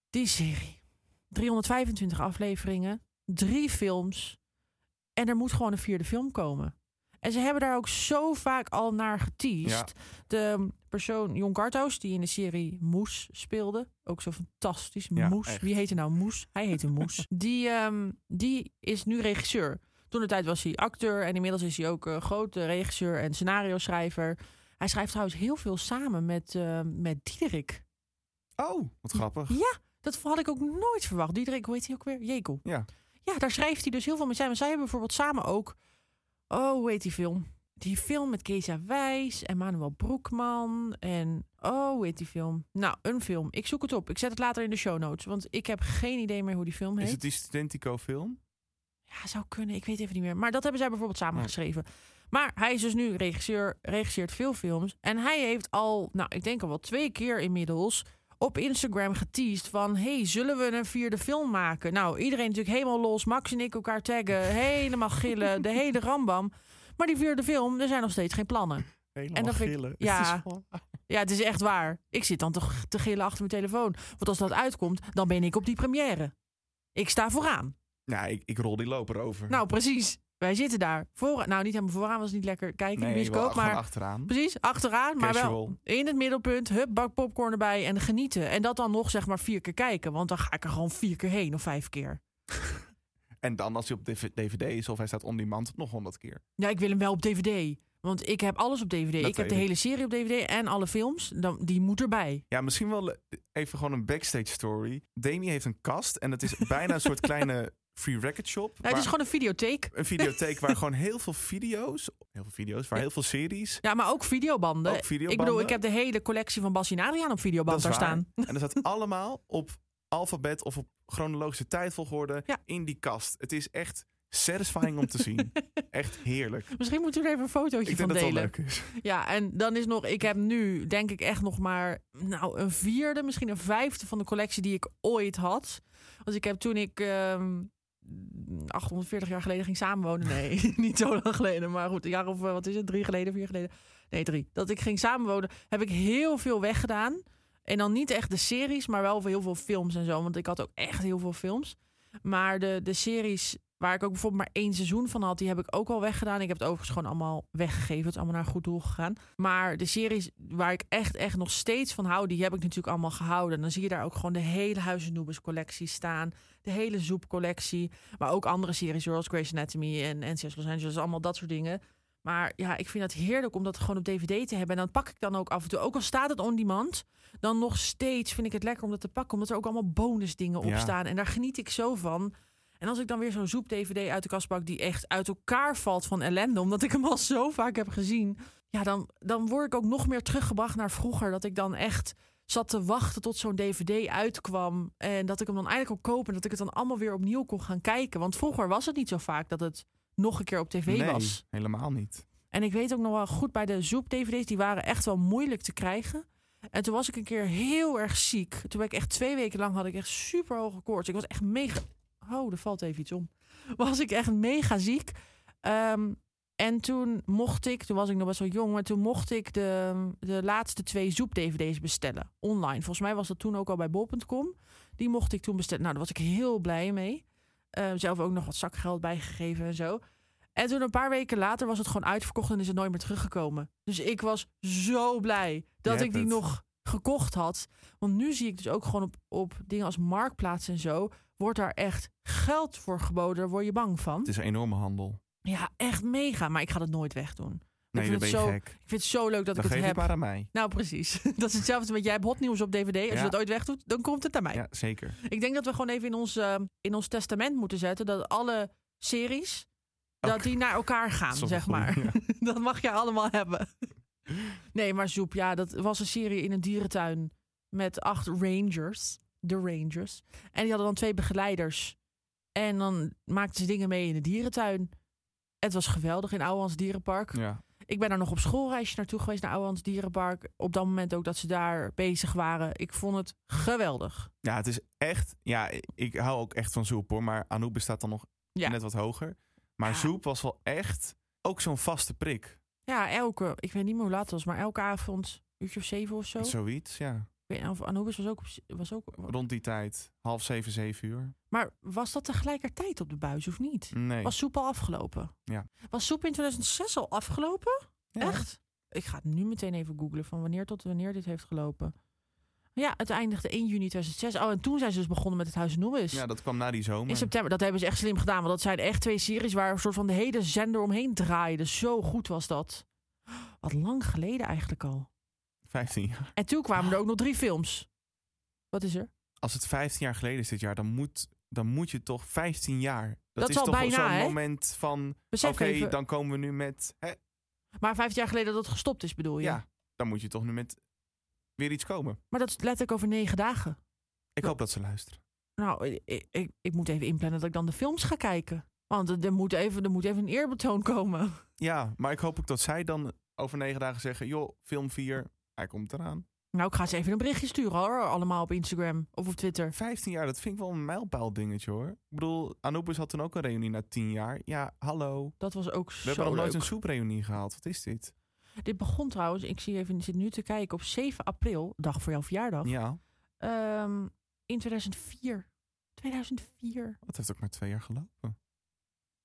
Die serie. 325 afleveringen. Drie films. En er moet gewoon een vierde film komen. En ze hebben daar ook zo vaak al naar geteased. De persoon Jon Garthaus, die in de serie Moes speelde. Ook zo fantastisch. Ja, Moes. echt. Wie heette nou Moes? Hij heette Moes. die, ehm, die is nu regisseur. Toen de tijd was hij acteur en inmiddels is hij ook eh, grote regisseur en scenario schrijver. Hij schrijft trouwens heel veel samen met, eh, met Diederik. Oh, wat grappig. Ja, dat had ik ook nooit verwacht. Diederik, hoe heet hij ook weer? Jekel. Ja. Ja, daar schrijft hij dus heel veel mee samen. Zij hebben bijvoorbeeld samen ook... Oh, hoe heet die film? Die film met Keesa Wijs en Manuel Broekman. En oh, hoe heet die film? Nou, een film. Ik zoek het op. Ik zet het later in de show notes. Want ik heb geen idee meer hoe die film heet. Is het die Studentico-film? Ja, zou kunnen. Ik weet even niet meer. Maar dat hebben zij bijvoorbeeld samengeschreven. Maar hij is dus nu regisseur, regisseert veel films. En hij heeft al, nou, ik denk al wel twee keer inmiddels op Instagram geteased van... hey, zullen we een vierde film maken? Nou, iedereen natuurlijk helemaal los. Max en ik elkaar taggen, helemaal gillen, de hele rambam. Maar die vierde film, er zijn nog steeds geen plannen. Helemaal En dat vind ik- gillen. Het is ja, gewoon- ja, het is echt waar. Ik zit dan toch te gillen achter mijn telefoon. Want als dat uitkomt, dan ben ik op die première. Ik sta vooraan. Nou, ik, ik rol die loper over. Nou, precies. Wij zitten daar. Voor, nou, niet helemaal vooraan was niet lekker kijken in de Nee, wel bioscoop. gewoon Maar achteraan. Precies, achteraan. Maar wel Casual. in het middelpunt. Hup, bak popcorn erbij en genieten. En dat dan nog zeg maar vier keer kijken. Want dan ga ik er gewoon vier keer heen of vijf keer. En dan als hij op dv- DVD is of hij staat on demand, nog honderd keer. Ja, ik wil hem wel op DVD. Want ik heb alles op DVD. Dat ik heb de weet ik. hele serie op DVD en alle films. Dan, die moet erbij. Ja, misschien wel eh, even gewoon een backstage story. Demi heeft een kast en het is bijna een soort kleine free record shop. Nou, het is gewoon een videotheek. een videotheek waar gewoon heel veel video's, heel veel video's, waar heel veel series. Ja, maar ook videobanden. Ook videobanden. Ik bedoel, ik heb de hele collectie van Bas en Adriaan op videoband daar is waar. staan. En dat staat allemaal op alfabet of op chronologische tijdvolgorde in die kast. Het is echt satisfying om te zien. Echt heerlijk. Misschien moeten we er even een fotootje Ik van denk dat dat delen. wel leuk is. Ja, en dan is nog, ik heb nu denk ik echt nog maar nou, een vierde, misschien een vijfde van de collectie die ik ooit had. Want ik heb toen ik ehm, 840 jaar geleden ging samenwonen. Nee, niet zo lang geleden, maar goed, een jaar of eh, wat is het? Drie geleden, vier geleden? Nee, drie. Dat ik ging samenwonen, heb ik heel veel weggedaan. En dan niet echt de series, maar wel heel veel films en zo. Want ik had ook echt heel veel films. Maar de, de series waar ik ook bijvoorbeeld maar één seizoen van had, die heb ik ook al weggedaan. Ik heb het overigens gewoon allemaal weggegeven. Het is allemaal naar een goed doel gegaan. Maar de series waar ik echt, echt nog steeds van hou, die heb ik natuurlijk allemaal gehouden. En dan zie je daar ook gewoon de hele Huizen Noobes collectie staan. De hele Zoep collectie. Maar ook andere series zoals Grey's Anatomy en NCS Los Angeles. Allemaal dat soort dingen. Maar ja, ik vind het heerlijk om dat gewoon op DVD te hebben. En dan pak ik dan ook af en toe, ook al staat het on demand, dan nog steeds vind ik het lekker om dat te pakken. Omdat er ook allemaal bonus dingen op Ja. staan. En daar geniet ik zo van. En als ik dan weer zo'n zoep-DVD uit de kast pak die echt uit elkaar valt van ellende, omdat ik hem al zo vaak heb gezien, ja, dan, dan word ik ook nog meer teruggebracht naar vroeger. Dat ik dan echt zat te wachten tot zo'n DVD uitkwam en dat ik hem dan eindelijk kon kopen en dat ik het dan allemaal weer opnieuw kon gaan kijken. Want vroeger was het niet zo vaak dat het nog een keer op tv nee, was. helemaal niet. En ik weet ook nog wel goed bij de Zoep-DVD's, die waren echt wel moeilijk te krijgen. En toen was ik een keer heel erg ziek. Toen ben ik echt twee weken lang had ik echt super hoge koorts. Ik was echt mega. Oh, er valt even iets om. Was ik echt mega ziek. Ehm, en toen mocht ik, toen was ik nog best wel jong, maar toen mocht ik de, de laatste twee Zoep-DVD's bestellen. Online. Volgens mij was dat toen ook al bij bol.com. Die mocht ik toen bestellen. Nou, daar was ik heel blij mee. Ehm, zelf ook nog wat zakgeld bijgegeven en zo. En toen een paar weken later was het gewoon uitverkocht en is het nooit meer teruggekomen. Dus ik was zo blij dat hebt ik die het. nog gekocht had. Want nu zie ik dus ook gewoon op, op dingen als marktplaats en zo. Wordt daar echt geld voor geboden? Daar word je bang van. Het is een enorme handel. Ja, echt mega. Maar ik ga dat nooit wegdoen. Nee, ik, dan vind het ben je zo, gek. ik vind het zo leuk Dan dat ik het geef je heb. het maar aan mij. Nou, precies. Dat is hetzelfde met jij hebt hot nieuws op DVD. Als Ja. je dat ooit wegdoet, dan komt het aan mij. Ja, zeker. Ik denk dat we gewoon even in ons, eh, in ons testament moeten zetten dat alle series dat die naar elkaar gaan, Dat is wel zeg een maar. goeie, dat mag je allemaal hebben. Nee, maar Zoep, ja, dat was een serie in een dierentuin met acht rangers. De rangers. En die hadden dan twee begeleiders. En dan maakten ze dingen mee in de dierentuin. Het was geweldig in Ouwehands Dierenpark. Ja. Ik ben daar nog op schoolreisje naartoe geweest, naar Ouwehands Dierenpark. Op dat moment ook dat ze daar bezig waren. Ik vond het geweldig. Ja, het is echt. Ja, ik- ik hou ook echt van Zoep hoor. Maar Anouk bestaat dan nog Ja. net wat hoger. Maar Zoep was wel echt ook zo'n vaste prik. Ja, elke, ik weet niet meer hoe laat het was, maar elke avond, uurtje of zeven of zo. Zoiets, ja. weet niet of Anubis was ook, op- was ook... Rond die tijd, half zeven, zeven uur. Maar was dat tegelijkertijd op de buis of niet? Nee. Was soep al afgelopen? Ja. Was soep in 2006 al afgelopen? Echt? Ik ga het nu meteen even googlen van wanneer tot wanneer dit heeft gelopen. Ja, het eindigde 1 juni 2006. Oh, en toen zijn ze dus begonnen met het Huis Nobis. Ja, eh. dat kwam na die zomer. In september. Dat hebben ze echt slim gedaan. Want dat zijn echt twee series waar een soort van de hele zender omheen draaide. Zo goed was dat. Wat lang geleden eigenlijk al. 15 jaar. En toen kwamen er ook nog drie films. Wat is er? Als het 15 jaar geleden is dit jaar, dan moet, dan moet je toch 15 jaar. Dat, Dat is is al toch wel bijna, zo'n hè? moment van. Oké, Besef even- dan komen we nu met. Hè, Maar vijf jaar geleden dat het gestopt is, bedoel je? ja, dan moet je toch nu met weer iets komen. Maar dat is letterlijk over negen dagen. Ik hoop dat ze luisteren. Nou, i- i- ik, ik, moet even inplannen dat ik dan de films ga kijken. Want er- er moet even, er moet even een eerbetoon komen. Ja, maar ik hoop ook dat zij dan over negen dagen zeggen: joh, film 4, hij komt eraan. Nou, ik ga ze even een berichtje sturen hoor. Allemaal op Instagram of op Twitter. 15 jaar, dat vind ik wel een mijlpaal dingetje hoor. Ik bedoel, Anubis had toen ook een reunie na 10 jaar. Ja, hallo. Dat was ook We zo hebben nog nooit leuk. een soepreunie gehaald. Wat is dit? Dit begon trouwens, ik zie even, ik zit nu te kijken, op 7 april, dag voor jouw verjaardag. Ja. Ehm, in 2004. 2004. Dat heeft ook maar twee jaar gelopen.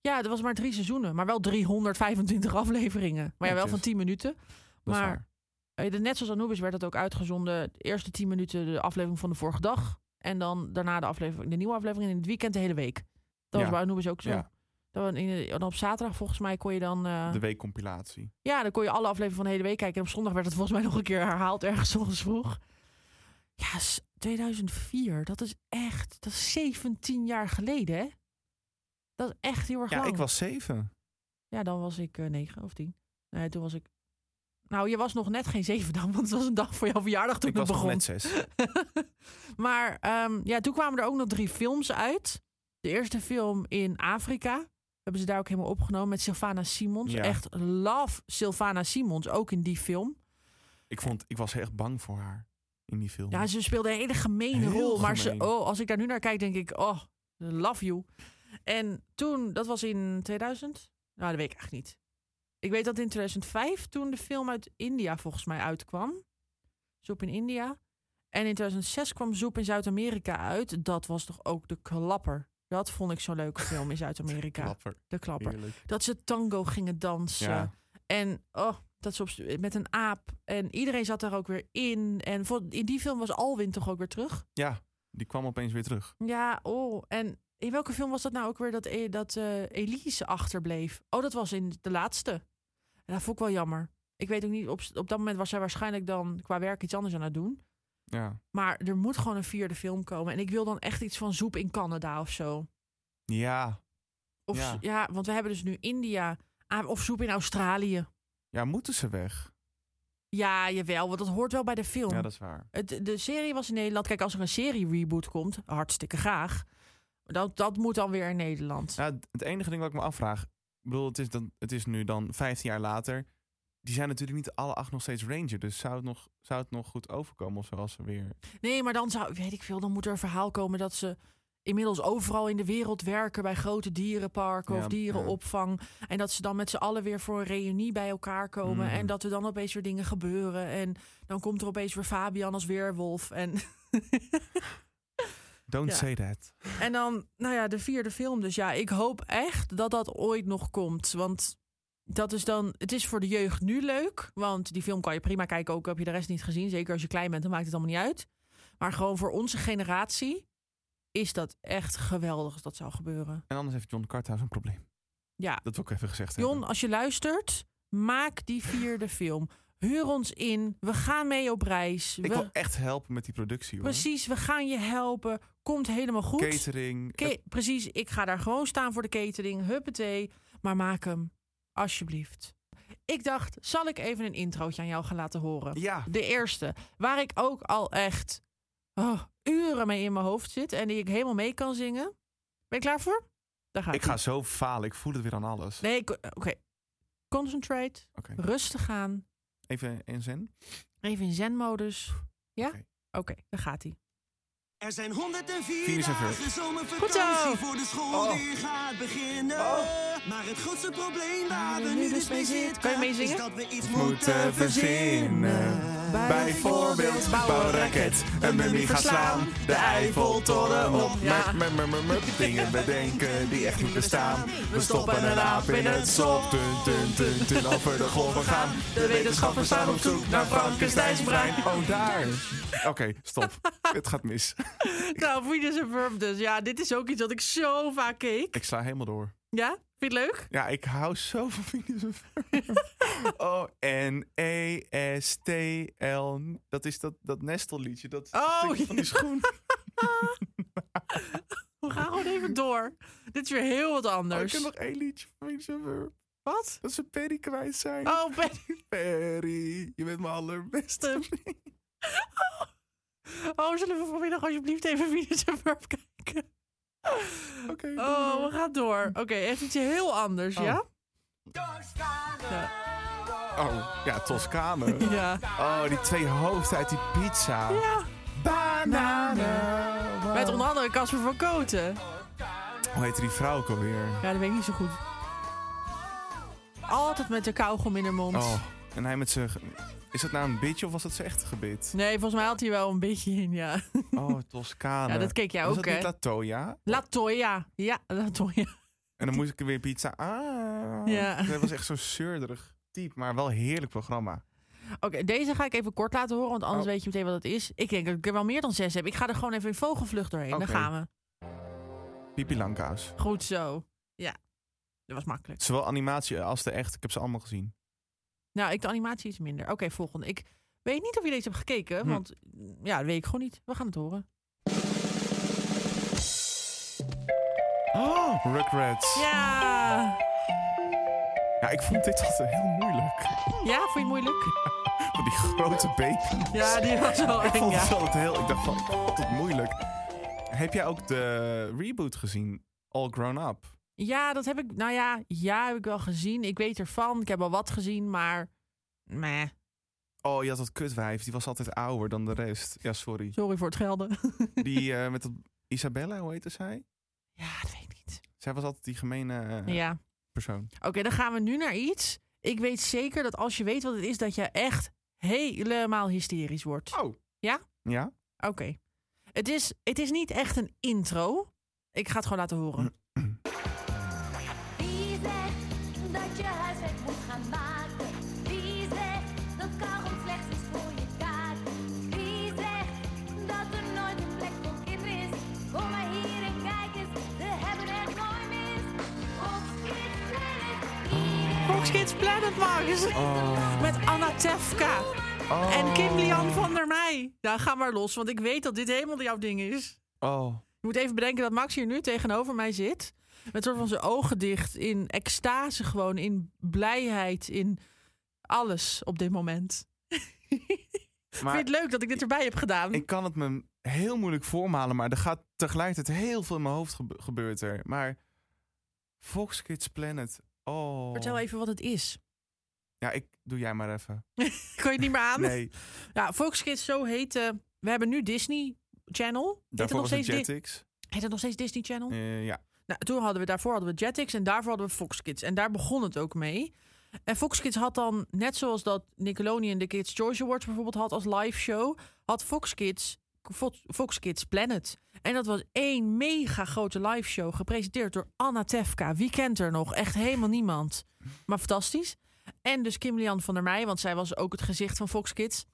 Ja, er was maar drie seizoenen, maar wel 325 afleveringen. Maar ja, wel Netjes. van 10 minuten. Dat is Maar waar. eh, de- net zoals Anubis werd dat ook uitgezonden. De eerste 10 minuten de aflevering van de vorige dag. En dan daarna de, aflevering, de nieuwe aflevering en in het weekend de hele week. Ja. Dat was bij Anubis ook zo. Ja. Dan in, dan op zaterdag volgens mij kon je dan... eh, De weekcompilatie. ja, dan kon je alle afleveringen van de hele week kijken. En op zondag werd het volgens mij nog een keer herhaald, ergens 's ochtends vroeg. Ja, s- 2004, dat is echt, dat is 17 jaar geleden, hè? Dat is echt heel erg Ja, lang. ik was zeven. Ja, dan was ik eh, negen 9 of 10. Nee, toen was ik... Nou, je was nog net geen zeven dan, want het was een dag voor jouw verjaardag toen Ik het was nog begon. net zes. Maar ehm, ja, toen kwamen er ook nog drie films uit. De eerste film in Afrika. Hebben ze daar ook helemaal opgenomen met Sylvana Simons. Ja. Echt love Sylvana Simons, ook in die film. Ik, vond, ik was echt bang voor haar in die film. Ja, ze speelde een hele gemene Heel rol. Maar ze, gemeen. oh, als ik daar nu naar kijk, denk ik, oh, love you. En toen, dat was in 2000? Nou, dat weet ik echt niet. Ik weet dat in 2005, toen de film uit India volgens mij uitkwam. Zoep in India. En in 2006 kwam Zoep in Zuid-Amerika uit. Dat was toch ook de klapper. Dat vond ik zo'n leuke film in Zuid-Amerika. Klapper. De klapper. Heerlijk. Dat ze tango gingen dansen. Ja. En oh, dat ze op, stu- met een aap. En iedereen zat daar ook weer in. En voor, in die film was Alwin toch ook weer terug? Ja, die kwam opeens weer terug. Ja, oh. En in welke film was dat nou ook weer dat, E- dat eh, Elise achterbleef? Oh, dat was in de laatste. En dat vond ik wel jammer. Ik weet ook niet, op, op dat moment was zij waarschijnlijk dan qua werk iets anders aan het doen. Ja. Maar er moet gewoon een vierde film komen. En ik wil dan echt iets van Zoep in Canada of zo. Ja. Of, Ja. ja. want we hebben dus nu India. Ah, Of Zoep in Australië. Ja, moeten ze weg? Ja, jawel, want dat hoort wel bij de film. Ja, dat is waar. Het, de serie was in Nederland. Kijk, als er een serie-reboot komt, hartstikke graag. Dat, dat moet dan weer in Nederland. Nou, het- het enige ding wat ik me afvraag. Ik bedoel, het is, dan, het is nu dan 15 jaar later. Die zijn natuurlijk niet alle acht nog steeds Ranger. Dus zou het nog, zou het nog goed overkomen of zo als ze weer. Nee, maar dan zou, weet ik veel, dan moet er een verhaal komen dat ze inmiddels overal in de wereld werken bij grote dierenparken Ja, of dierenopvang. En dat ze dan met z'n allen weer voor een reunie bij elkaar komen. Mm. En dat er dan opeens weer dingen gebeuren. En dan komt er opeens weer Fabian als weerwolf. En, Don't Ja. say that. en dan, nou ja, de vierde film. Dus ja, ik hoop echt dat dat ooit nog komt. Want dat is dan, het is voor de jeugd nu leuk. Want die film kan je prima kijken, ook heb je de rest niet gezien. Zeker als je klein bent, dan maakt het allemaal niet uit. Maar gewoon voor onze generatie is dat echt geweldig als dat zou gebeuren. En anders heeft John Carthouse een probleem. Ja, Dat wil ik even gezegd Jon, als je luistert, maak die vierde film. Huur ons in, we gaan mee op reis. hebben. Ik We- wil echt helpen met die productie. Hoor. precies, we gaan je helpen. Komt helemaal goed. Catering. Ke- precies, ik ga daar gewoon staan voor de catering. Huppatee. Maar maak hem, alsjeblieft. Ik dacht, zal ik even een introotje aan jou gaan laten horen? Ja. De eerste, waar ik ook al echt oh, uren mee in mijn hoofd zit... en die ik helemaal mee kan zingen. Ben je klaar voor? Daar gaat Ik ga zo falen. Ik voel het weer aan alles. Nee, ik- oké. Concentrate, Oké. rustig aan, Even in zin. even in zen-modus. Ja? Oké, daar gaat hij. Er zijn 104 Venus en Vert. dagen Goed zo. zomervakantie voor de school Oh. weer gaat beginnen. Oh. Maar het grootste probleem waar we nu dus mee zitten... Kan je meezingen? Is dat we iets moeten verzinnen. Bijvoorbeeld bouw een raket, een mummie gaan slaan, de Eiffeltoren op. Ja. Mup, mup, mup, mup, Dingen bedenken die echt niet bestaan. We stoppen een aap in het sop, tun tun tun tun, over de golven gaan. De wetenschappers staan op zoek naar Frankensteins brein. Oh, daar. Oké, stop. het gaat mis. Nou, Venus en Verb dus. Ja, dit is ook iets wat ik zo vaak keek. Ik sla helemaal door. Ja? Vind je het leuk? Ja, ik hou zo van Venus en Verb. O-N-E-S-T-L. Dat is dat, dat nestelliedje. Dat Oh, stukje van die ja. schoen. We gaan gewoon even door. Dit is weer heel wat Oh, ik anders. heb nog één liedje van Venus en Verb. Wat? Dat ze Perry kwijt zijn. Oh, Perry. Perry, je bent mijn allerbeste vriend. Oh, zullen we vanmiddag alsjeblieft even Venus en Verb kijken? Oké. oh, we gaan door. Oké, even iets heel anders, ja? Oh, ja, Toscane. Ja. Oh, die twee hoofden uit die pizza. Ja. Bananen. Met onder andere Casper van Koten. Hoe heette die vrouw ook alweer? Ja, dat weet ik niet zo goed. Altijd met de kauwgom in haar mond. Oh, en hij met zijn... ge- Is dat nou een bitje of was dat zijn echte gebit? Nee, volgens mij had hij wel een beetje in, ja. Oh, Toscane. Ja, dat keek jij was ook, dat hè? niet Latoya? Latoya. Ja, Latoya. En dan moest ik weer pizza. Ah. Ja. Dat was echt zo'n zeurderig type, maar wel een heerlijk programma. Oké, deze ga ik even kort laten horen, want Oh. anders weet je meteen wat het is. Ik denk dat ik er wel meer dan zes heb. Ik ga er gewoon even in vogelvlucht doorheen. Oké. Dan gaan we. Pipi Langkous. Goed zo. Ja, dat was makkelijk. Zowel animatie als de echt. Ik heb ze allemaal gezien. Nou, ik de animatie iets minder. Oké, volgende. Ik weet niet of je deze hebt gekeken, Hm. want mm, ja, dat weet ik gewoon niet. We gaan het horen. Oh, Rugrats. Ja! Ja, ik vond dit altijd heel moeilijk. Ja, vond je het moeilijk? Van die grote baby's. Ja, die was wel ik eng, vond het ja. altijd heel... Ik dacht van, ik vond het moeilijk. Heb jij ook de reboot gezien? All Grown Up. Ja, dat heb ik. Nou ja, ja, heb ik wel gezien. Ik weet ervan. Ik heb al wat gezien, maar. Meh. Oh, je had dat kutwijf. Die was altijd ouder dan de rest. Ja, sorry. Sorry voor het gelden. Die eh, met dat... Isabella, hoe heette zij? Ja, dat weet ik niet. Zij was altijd die gemene eh, Ja. persoon. Oké, dan gaan we nu naar iets. Ik weet zeker dat als je weet wat het is, dat je echt helemaal hysterisch wordt. Oh. Ja? Ja? Oké. Het, is, het is niet echt een intro. Ik ga het gewoon laten horen. Wie zegt dat je huiswerk moet gaan maken? Wie zegt dat karel slecht is voor je taart? Wie zegt dat er nooit een plek voor kinderen is? Kom maar hier en kijk eens, we hebben het mooi mis. Ons kind planet, Hm. Fox Kids Planet Magazine. Oh. Met Anna Tefka. Oh. En Kim Lian van der Meij. Nou, ga maar los, want ik weet dat dit helemaal jouw ding is. Oh. Je moet even bedenken dat Max hier nu tegenover mij zit. Met soort van zijn ogen dicht. In extase gewoon. In blijheid. In alles op dit moment. Maar Vind je het leuk dat ik dit erbij heb gedaan? ik kan het me heel moeilijk voormalen, maar er gaat tegelijkertijd heel veel in mijn hoofd gebe- gebeurt er. Maar Fox Kids Planet, oh. Vertel even wat het is. Ja, ik doe jij maar even. Kon je het niet meer aan? Nee, Ja, Fox Kids, zo heet... eh, we hebben nu Disney Channel. Heet het, daarvoor nog was het steeds Di- Jetix. heet het nog steeds Disney Channel? Eh, ja, Nou, toen hadden we daarvoor hadden we Jetix en daarvoor hadden we Fox Kids. En daar begon het ook mee. En Fox Kids had dan, net zoals dat Nickelodeon de Kids Choice Awards bijvoorbeeld had als live show, had Fox Kids Fo- Fox Kids Planet. En dat was één mega grote live show gepresenteerd door Anna Tefka. Wie kent er nog? Echt helemaal niemand. Maar fantastisch. En dus Kim Lian van der Meij, want zij was ook het gezicht van Fox Kids.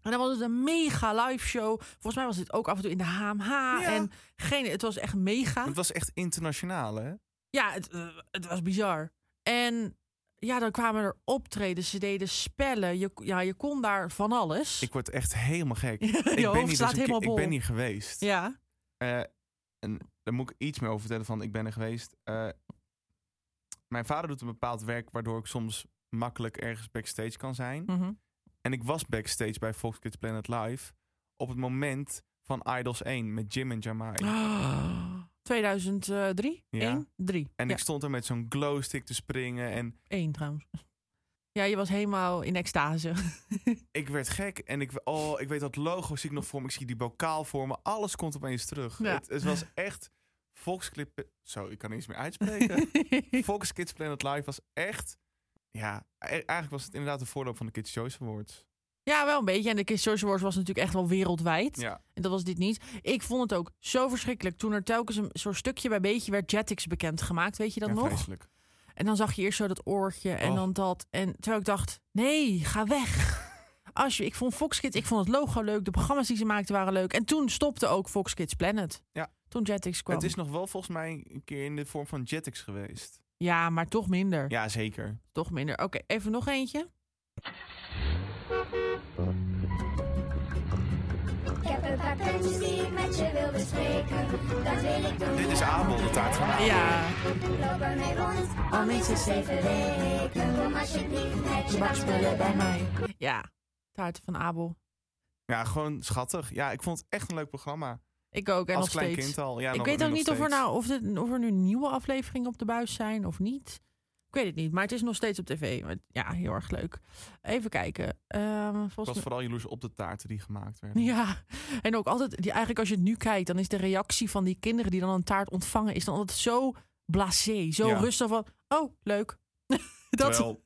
En dan was het een mega live show. Volgens mij was dit ook af en toe in de HMH. En geen, het was echt mega. het was echt internationaal, hè? Ja, het, eh, het was bizar. En ja, dan kwamen er optredens, ze deden spellen. Je, ja, je kon daar van alles. Ik word echt helemaal gek. Je ik, ben niet hoofd slaat eens een keer- helemaal ik ben bol. hier geweest. Ja. Eh, en daar moet ik iets meer over vertellen van ik ben er geweest. Eh, mijn vader doet een bepaald werk waardoor ik soms makkelijk ergens backstage kan zijn. Mhm. En ik was backstage bij Fox Kids Planet Live op het moment van Idols 1 met Jim en Jamai. Oh, Ah. 2003? Ja. 1? 3. En ja. ik stond er met zo'n glowstick te springen en 1 trouwens. Ja, je was helemaal in extase. ik werd gek. En ik, oh, ik weet dat logo zie ik nog voor me, ik zie die bokaal voor me. Alles komt opeens terug. Ja. Het, het was echt Fox Clip... Zo, ik kan niet eens meer uitspreken. Fox Kids Planet Live was echt... Ja, e- eigenlijk was het inderdaad de voorloop van de Kids' Choice Awards. Ja, wel een beetje. En de Kids Choice Awards was natuurlijk echt wel wereldwijd. Ja. En dat was dit niet. Ik vond het ook zo verschrikkelijk toen er telkens een soort stukje bij beetje werd Jetix bekendgemaakt. Weet je dat ja, nog? vreselijk. En dan zag je eerst zo dat oortje en Oh. dan dat. En terwijl ik dacht, nee, ga weg. Als je, ik vond Fox Kids, ik vond het logo leuk. De programma's die ze maakten waren leuk. En toen stopte ook Fox Kids Planet. Ja. Toen Jetix kwam. Het is nog wel volgens mij een keer in de vorm van Jetix geweest. Ja, maar toch minder. Ja, zeker. Toch minder. Oké, even nog eentje. Ik heb een paar puntjes die ik met je wil bespreken. Dat wil ik doen. Dit is Abel, de taart van Abel. Ja. Loop ermee rond, al minstens zeven weken. Kom alsjeblieft met je bakspullen bij mij. Ja, Taarten van Abel. Ja, gewoon schattig. Ja, ik vond het echt een leuk programma. Ik ook. En Als nog klein steeds. kind al. Ja, ik nog- weet nu ook nog niet of er, steeds. nou, of, dit, of er nu nieuwe afleveringen op de buis zijn of niet. Ik weet het niet, maar het is nog steeds op tv. Maar ja, heel erg leuk. Even kijken. Ehm, Ik was volgens mij... vooral jaloers op de taarten die gemaakt werden. Ja, en ook altijd, die, eigenlijk als je het nu kijkt, dan is de reactie van die kinderen die dan een taart ontvangen, is dan altijd zo blasé, zo Ja. rustig van, oh, leuk. dat, Terwijl,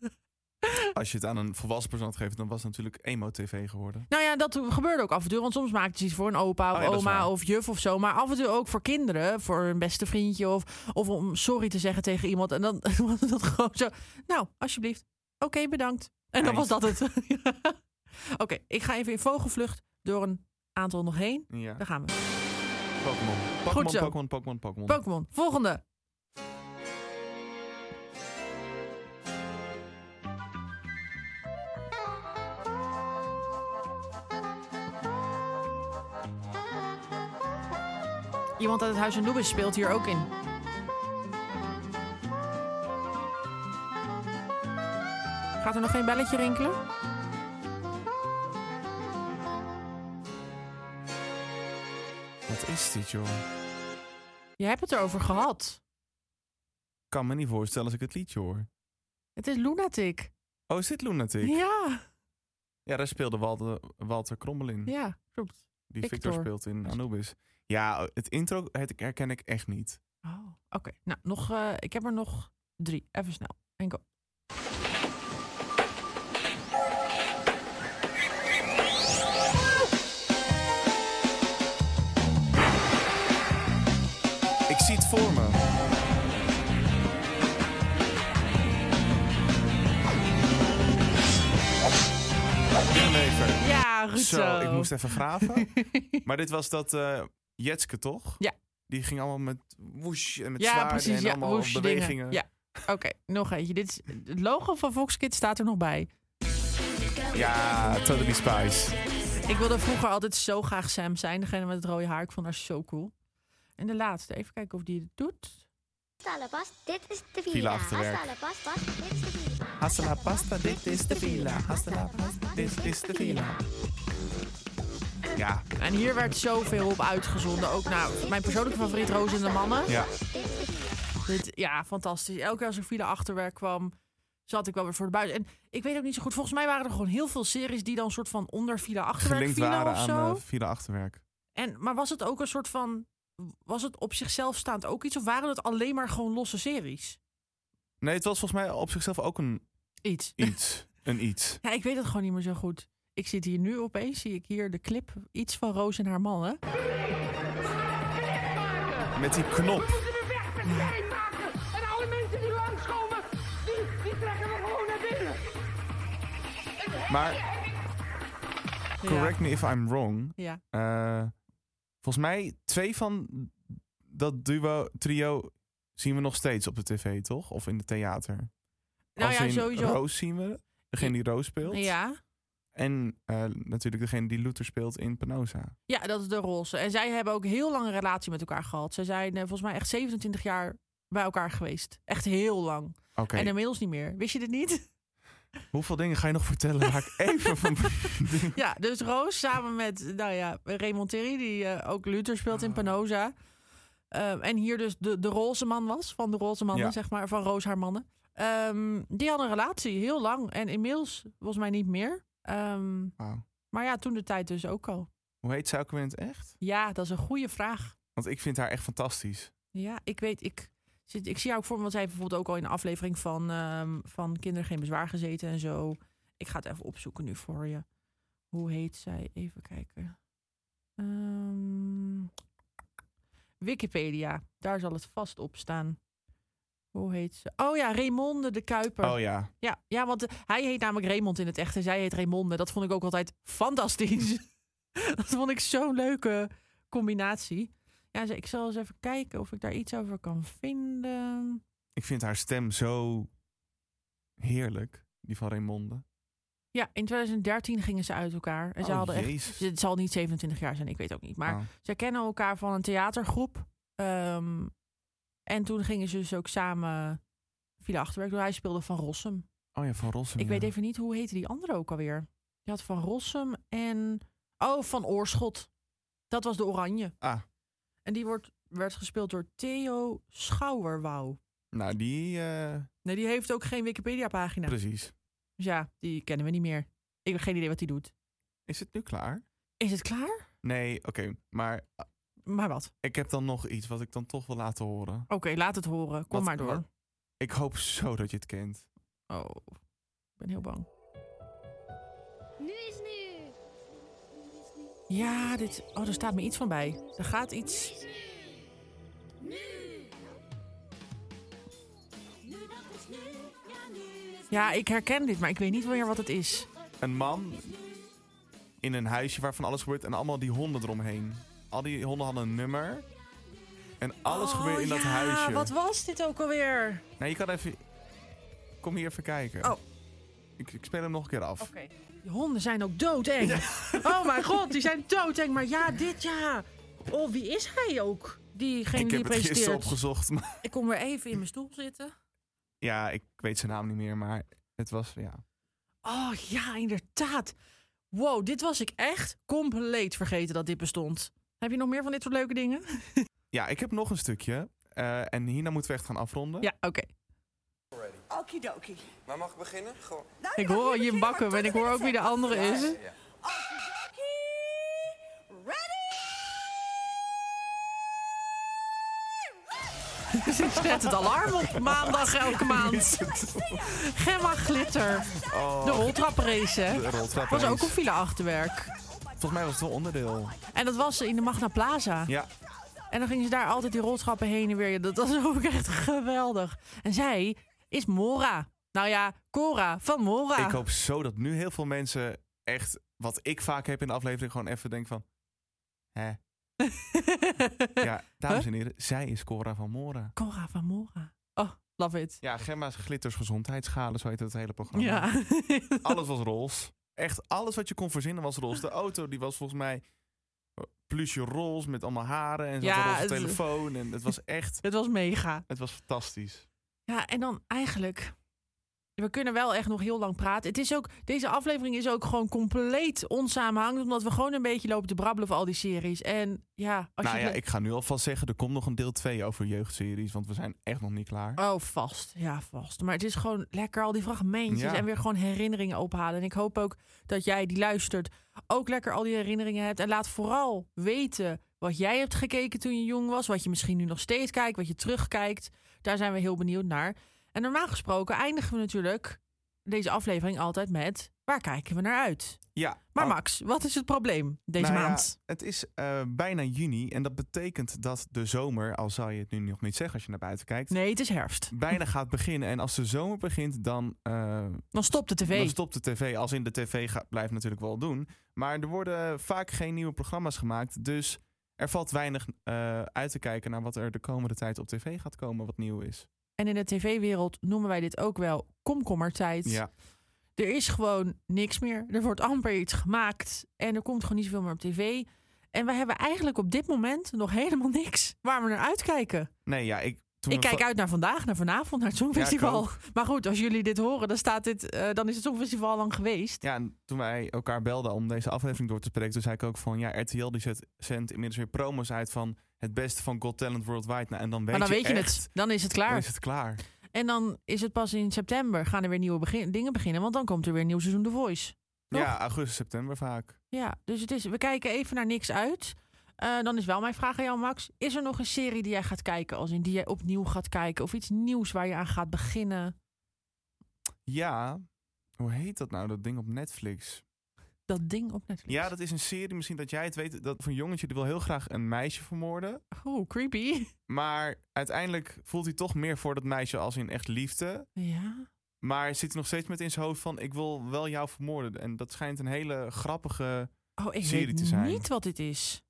als je het aan een volwassen persoon had gegeven, dan was het natuurlijk emo-tv geworden. Nou ja, dat gebeurde ook af en toe. Want soms maakten ze iets voor een opa of Oh ja, dat is oma waar. of juf of zo. Maar af en toe ook voor kinderen. Voor een beste vriendje of, of om sorry te zeggen tegen iemand. En dan was dat gewoon zo. Nou, alsjeblieft. Oké, bedankt. En dan was Eind. dat het. Ja. Oké, ik ga even in vogelvlucht door een aantal nog heen. Ja. Daar gaan we. Pokémon. Goed Pokémon, zo. Pokémon, Pokémon, Pokémon. Pokémon, volgende. Iemand uit het Huis en Noebis speelt hier ook in. Gaat er nog geen belletje rinkelen? Wat is dit, joh? Je hebt het erover gehad. kan me niet voorstellen als ik het liedje hoor. Het is Lunatic. Oh, is dit Lunatic? Ja, Ja, daar speelde Walter, Walter Krommel in. ja, klopt. die Victor. Victor. speelt in Anubis. Ja, het intro het herken ik echt niet. Oh, oké. Nou, nog, eh, ik heb er nog drie. Even snel. En go. Ik zie het voor me. Binnenlever. Ja, goed zo. Zo, ik moest even graven. maar dit was dat eh, Jetske, toch? Ja. Die ging allemaal met woesh en met ja, zwaarden precies. en Ja, allemaal woeste dingen. bewegingen. Ja. Oké, nog eentje. Dit is, het logo van Fox Kids staat er nog bij. Ja, Totally Spice. Ik wilde vroeger altijd zo graag Sam zijn. Degene met het rode haar. Ik vond haar zo cool. En de laatste. Even kijken of die het doet. Hasta la pasta, dit is de Villa villa. achterwerk. Hasta la pasta, dit is de villa. Hasta la pasta, dit is de villa. Hasta la pasta, dit is de villa. Ja, En hier werd zoveel op uitgezonden. Ook nou, mijn persoonlijke favoriet, Roos en de Mannen. ja. Dit, ja, fantastisch. Elke keer als er file achterwerk kwam, zat ik wel weer voor de buis. En ik weet ook niet zo goed. Volgens mij waren er gewoon heel veel series die dan soort van onder file achterwerk Gelinkt vielen waren of zo. aan eh villa achterwerk. En, maar was het ook een soort van. Was het op zichzelf staand ook iets? Of waren het alleen maar gewoon losse series? Nee, het was volgens mij op zichzelf ook een Iets. iets. een iets. Ja, ik weet het gewoon niet meer zo goed. Ik zit hier nu opeens, zie ik hier de clip. Iets van Roos en haar mannen. Met die knop. En alle mensen die langskomen, die, die trekken we gewoon naar binnen. Maar correct me if I'm wrong. Ja. Eh, volgens mij twee van dat duo, trio zien we nog steeds op de tv, toch? Of in het theater. Nou Als ja, in sowieso. Roos zien we. Degene die Roos speelt. Ja. En eh, natuurlijk degene die Luther speelt in Penosa. Ja, dat is de roze. En zij hebben ook heel lang een relatie met elkaar gehad. Zij zijn eh, volgens mij echt 27 jaar bij elkaar geweest. Echt heel lang. Oké, En inmiddels niet meer. Wist je dit niet? hoeveel dingen ga je nog vertellen waar ik even van... ja, dus Roos samen met nou ja, Raymond Terry, die eh, ook Luther speelt Ah. in Panoza. Ehm, en hier dus de, de roze man was, van de roze mannen, Ja. zeg maar, van Roos haar mannen. Ehm, die hadden een relatie, heel lang. En inmiddels volgens mij niet meer. Ehm, Wauw. maar ja, toen de tijd dus ook al. Hoe heet zij ook weer in het echt? Ja, dat is een goede vraag. Want ik vind haar echt fantastisch. Ja, ik weet, ik, zit, ik zie jou ook voor me, want zij heeft bijvoorbeeld ook al in een aflevering van, ehm, van Kinderen Geen Bezwaar gezeten en zo. Ik ga het even opzoeken nu voor je. Hoe heet zij? Even kijken. Ehm, Wikipedia, daar zal het vast op staan. Hoe heet ze? Oh ja, Raymonde de Kuiper. Oh ja. Ja, ja want eh, hij heet namelijk Raymond in het echt en zij heet Raymonde. Dat vond ik ook altijd fantastisch. dat vond ik zo'n leuke combinatie. Ja, ze- ik zal eens even kijken of ik daar iets over kan vinden. Ik vind haar stem zo heerlijk, die van Raymonde. Ja, in 2013 gingen ze uit elkaar. En ze Oh, hadden jezus. echt, het zal niet 27 jaar zijn, ik weet ook niet. Maar Ah. ze kennen elkaar van een theatergroep. Ehm, en toen gingen ze dus ook samen via achterwerk. Hij speelde Van Rossum. Oh ja, van Rossum. Ik ja. weet even niet, hoe heette die andere ook alweer? Je had Van Rossum en... Oh, Van Oorschot. Dat was de oranje. Ah, En die wordt, werd gespeeld door Theo Schouwerwouw. nou die... eh, Nee, die heeft ook geen Wikipedia-pagina. Precies. Dus ja, die kennen we niet meer. Ik heb geen idee wat die doet. Is het nu klaar? Is het klaar? Nee, oké. maar Maar wat? ik heb dan nog iets wat ik dan toch wil laten horen. Oké, laat het horen. Kom Wat- maar door. wat- ik hoop zo dat je het kent. Oh, ik ben heel bang. Nu is nu. Ja, dit... Oh, er staat me iets van bij. Er gaat iets... Ja, ik herken dit, maar ik weet niet meer wat het is. Een man in een huisje waarvan alles gebeurt en allemaal die honden eromheen. Al die honden hadden een nummer. En alles gebeurde in dat huisje. Oh, wat was dit ook alweer? Nou, je kan even... Kom hier even kijken. Oh. Ik, ik speel hem nog een keer af. Die honden zijn ook doodeng. Oh mijn god, die zijn doodeng. Maar ja, dit ja. Oh, wie is hij ook? Diegene ik die heb het gisteren presenteert. opgezocht, maar... Ik kom weer even in mijn stoel zitten. Ja, ik weet zijn naam niet meer, maar het was... Ja. Oh ja, inderdaad. Wow, dit was ik echt compleet vergeten dat dit bestond. Heb je nog meer van dit soort leuke dingen? ja, ik heb nog een stukje. eh, en hierna moeten we echt gaan afronden. Ja, oké. Okidoki. Maar mag ik beginnen? Gewoon. Ik hoor al Jim Bakken en ik hoor ook wie de andere is. Ze zet het alarm op maandag elke maand. Gemma Glitter. Oh. De roltraprace, hè? De roltraprace. was ook Ah. een file achterwerk. Volgens mij was het wel onderdeel. En dat was in de Magna Plaza. Ja. En dan gingen ze daar altijd die roltrappen heen en weer. Ja, Dat was ook echt geweldig. En zij is Mora. Nou ja, Cora van Mora. Ik hoop zo dat nu heel veel mensen echt, wat ik vaak heb in de aflevering, gewoon even denken van... Hè? ja, dames en heren, zij is Cora van Mora. Cora van Mora. Oh, love it. Ja, Gemma's glitters gezondheidsschade, zo heet het hele programma. Ja. Alles was roze. Echt, alles wat je kon verzinnen was roze. De auto, die was volgens mij eh, plusje roze met allemaal haren en zo'n Ja, roze het- telefoon. En het was echt, Het was mega. het was fantastisch. Ja, en dan eigenlijk. We kunnen wel echt nog heel lang praten. Het is ook, deze aflevering is ook gewoon compleet onsamenhangend. Omdat we gewoon een beetje lopen te brabbelen over al die series. En ja, als nou je. ja, het le- ik ga nu alvast zeggen, er komt nog een deel 2 over jeugdseries, want we zijn echt nog niet klaar. Oh, vast. Ja, vast. Maar het is gewoon lekker al die fragmentjes. Ja. En weer gewoon herinneringen ophalen. En ik hoop ook dat jij die luistert. ook lekker al die herinneringen hebt. En laat vooral weten wat jij hebt gekeken toen je jong was. Wat je misschien nu nog steeds kijkt. Wat je terugkijkt. Daar zijn we heel benieuwd naar. En normaal gesproken eindigen we natuurlijk deze aflevering altijd met. waar kijken we naar uit? Ja. Maar Oh. Max, wat is het probleem deze Nou ja, maand? het is eh, bijna juni en dat betekent dat de zomer, al zou je het nu nog niet zeggen als je naar buiten kijkt, Nee, het is herfst. bijna gaat beginnen. En als de zomer begint, dan, eh, Dan stopt de tv. dan stopt de tv. Als in de tv gaat, blijft natuurlijk wel doen. Maar er worden vaak geen nieuwe programma's gemaakt. Dus er valt weinig eh, uit te kijken naar wat er de komende tijd op tv gaat komen, wat nieuw is. En in de tv-wereld noemen wij dit ook wel komkommertijd. Ja. Er is gewoon niks meer. Er wordt amper iets gemaakt. En er komt gewoon niet zoveel meer op tv. En we hebben eigenlijk op dit moment nog helemaal niks waar we naar uitkijken. Nee, ja, ik. Toen ik we kijk va- uit naar vandaag, naar vanavond, naar het Songfestival. Ja, ik maar goed, als jullie dit horen, dan, staat dit, eh, dan is het Songfestival al lang geweest. Ja, en toen wij elkaar belden om deze aflevering door te spreken, toen zei ik ook van ja, RTL die zet, zendt inmiddels weer promos uit van het beste van God Talent Worldwide. Nou, en dan weet maar dan je weet je echt- het. Dan is het klaar. Dan is het klaar. En dan is het pas in september gaan er weer nieuwe begin- dingen beginnen. Want dan komt er weer een nieuw seizoen The Voice. Toch? Ja, augustus, september vaak. Ja, dus het is, we kijken even naar niks uit. Eh, Eh, dan is wel mijn vraag aan jou, Max. Is er nog een serie die jij gaat kijken, als in die jij opnieuw gaat kijken? Of iets nieuws waar je aan gaat beginnen? Ja, hoe heet dat nou, dat ding op Netflix? Dat ding op Netflix. Ja, dat is een serie, misschien dat jij het weet, dat van een jongetje die wil heel graag een meisje vermoorden. Oh, creepy. Maar uiteindelijk voelt hij toch meer voor dat meisje als in echt liefde. Ja. Maar zit hij nog steeds met in zijn hoofd van, ik wil wel jou vermoorden. En dat schijnt een hele grappige Oh, ik serie weet te zijn. niet wat dit is.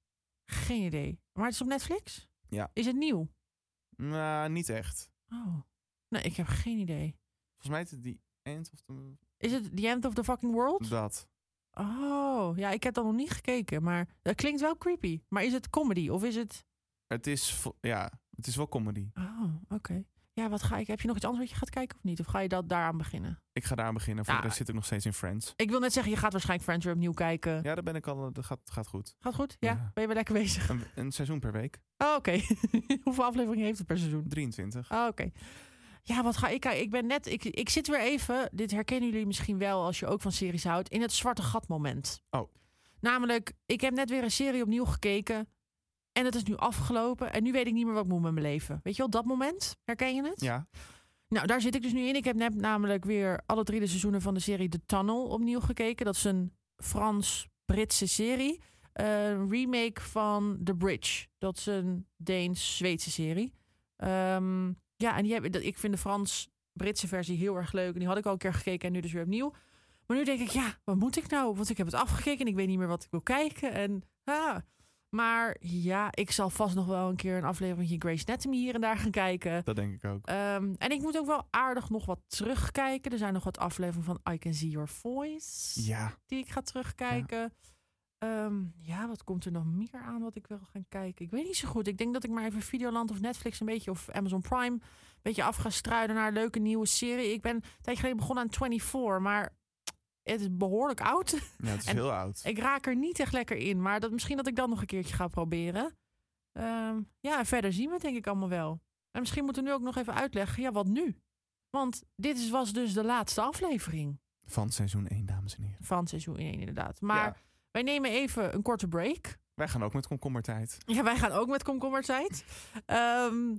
Geen idee. Maar het is op Netflix? Ja. Is het nieuw? Nou, niet echt. Oh. Nee, ik heb geen idee. Volgens mij is het die End of the... Is het The End of the Fucking World? Dat. Oh, ja, ik heb dat nog niet gekeken, maar dat klinkt wel creepy. Maar is het comedy of is het... Het is, vo- ja, het is wel comedy. Oh, oké. Ja, wat ga ik... Heb je nog iets anders wat je gaat kijken of niet? Of ga je dat daaraan beginnen? Ik ga daar aan beginnen. Voor Ja. de rest zit ik nog steeds in Friends. Ik wil net zeggen, je gaat waarschijnlijk Friends weer opnieuw kijken. Ja, daar ben ik al. Dat gaat, gaat goed. Gaat goed? Ja? Ben je weer lekker bezig? Een, een seizoen per week. Oh, oké. Hoeveel afleveringen heeft het per seizoen? 23. Oh, oké. Ja, wat ga ik kijken? Ik ben net... Ik, ik zit weer even... Dit herkennen jullie misschien wel als je ook van series houdt. In het zwarte gat moment. Oh. Namelijk, ik heb net weer een serie opnieuw gekeken. En het is nu afgelopen. En nu weet ik niet meer wat ik moet met mijn leven. Weet je wel, dat moment. Herken je het? Ja. Nou, daar zit ik dus nu in. Ik heb net namelijk weer alle drie de seizoenen van de serie The Tunnel opnieuw gekeken. Dat is een Frans-Britse serie. Eh, Een remake van The Bridge. Dat is een Deens-Zweedse serie. Ehm, ja, en die heb, dat- ik vind de Frans-Britse versie heel erg leuk. En die had ik al een keer gekeken en nu dus weer opnieuw. Maar nu denk ik, ja, wat moet ik nou? Want ik heb het afgekeken en ik weet niet meer wat ik wil kijken. En, ah. Maar ja, ik zal vast nog wel een keer een aflevering van Grace Anatomy hier en daar gaan kijken. Dat denk ik ook. Ehm, en ik moet ook wel aardig nog wat terugkijken. Er zijn nog wat afleveringen van I Can See Your Voice. Ja. Die ik ga terugkijken. Ja. ja, wat komt er nog meer aan wat ik wil gaan kijken? Ik weet niet zo goed. Ik denk dat ik maar even Videoland of Netflix een beetje... of Amazon Prime een beetje af ga struinen naar een leuke nieuwe serie. Ik ben een tijdje geleden begonnen aan 24, maar... Het is behoorlijk oud. Ja, het is En heel oud. Ik raak er niet echt lekker in, maar dat, misschien dat ik dat nog een keertje ga proberen. Ehm, ja, en verder zien we het denk ik allemaal wel. En misschien moeten we nu ook nog even uitleggen, ja, wat nu? Want dit is, was dus de laatste aflevering Van seizoen 1, dames en heren. van seizoen 1 inderdaad. Maar Ja. wij nemen even een korte break. Wij gaan ook met komkommertijd. Ja, wij gaan ook met komkommertijd. Ehm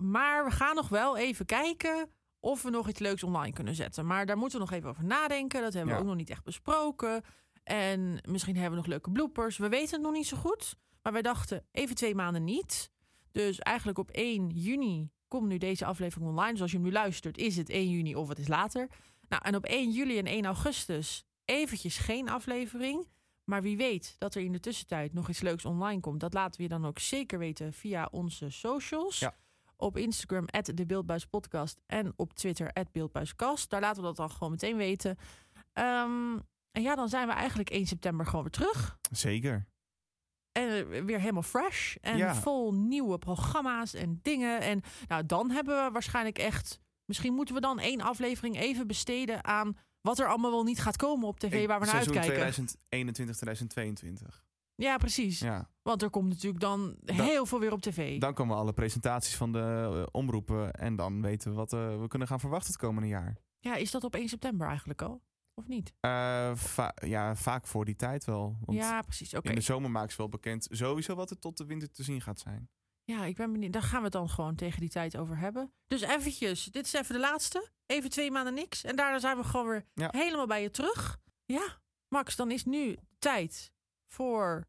maar we gaan nog wel even kijken of we nog iets leuks online kunnen zetten. Maar daar moeten we nog even over nadenken. Dat hebben Ja. we ook nog niet echt besproken. En misschien hebben we nog leuke bloopers. We weten het nog niet zo goed. Maar wij dachten even twee maanden niet. Dus eigenlijk op 1 juni komt nu deze aflevering online. Dus als je hem nu luistert, is het 1 juni of het is later. Nou, en op 1 juli en 1 augustus eventjes geen aflevering. Maar wie weet dat er in de tussentijd nog iets leuks online komt. Dat laten we je dan ook zeker weten via onze socials. Op Instagram, at de Beeldbuispodcast. En op Twitter, at Beeldbuiskast. Daar laten we dat dan gewoon meteen weten. Ehm, en ja, dan zijn we eigenlijk 1 september gewoon weer terug. Zeker. En eh, weer helemaal fresh. En Ja. vol nieuwe programma's en dingen. En nou, dan hebben we waarschijnlijk echt... Misschien moeten we dan één aflevering even besteden aan... wat er allemaal wel niet gaat komen op tv waar we naar seizoen uitkijken. 2021, 2022. Ja, precies. Ja. Want er komt natuurlijk dan heel veel weer op tv. Dan komen alle presentaties van de eh, omroepen. En dan weten we wat eh, we kunnen gaan verwachten het komende jaar. Ja, is dat op 1 september eigenlijk al? Of niet? Eh, va- ja, vaak voor die tijd wel. Want Ja, precies, oké. In de zomer maken ze wel bekend sowieso wat er tot de winter te zien gaat zijn. Ja, ik ben benieuwd. Daar gaan we het dan gewoon tegen die tijd over hebben. Dus eventjes, dit is even de laatste. Even twee maanden niks. En daarna zijn we gewoon weer helemaal bij je terug. Ja, Max, dan is nu tijd voor...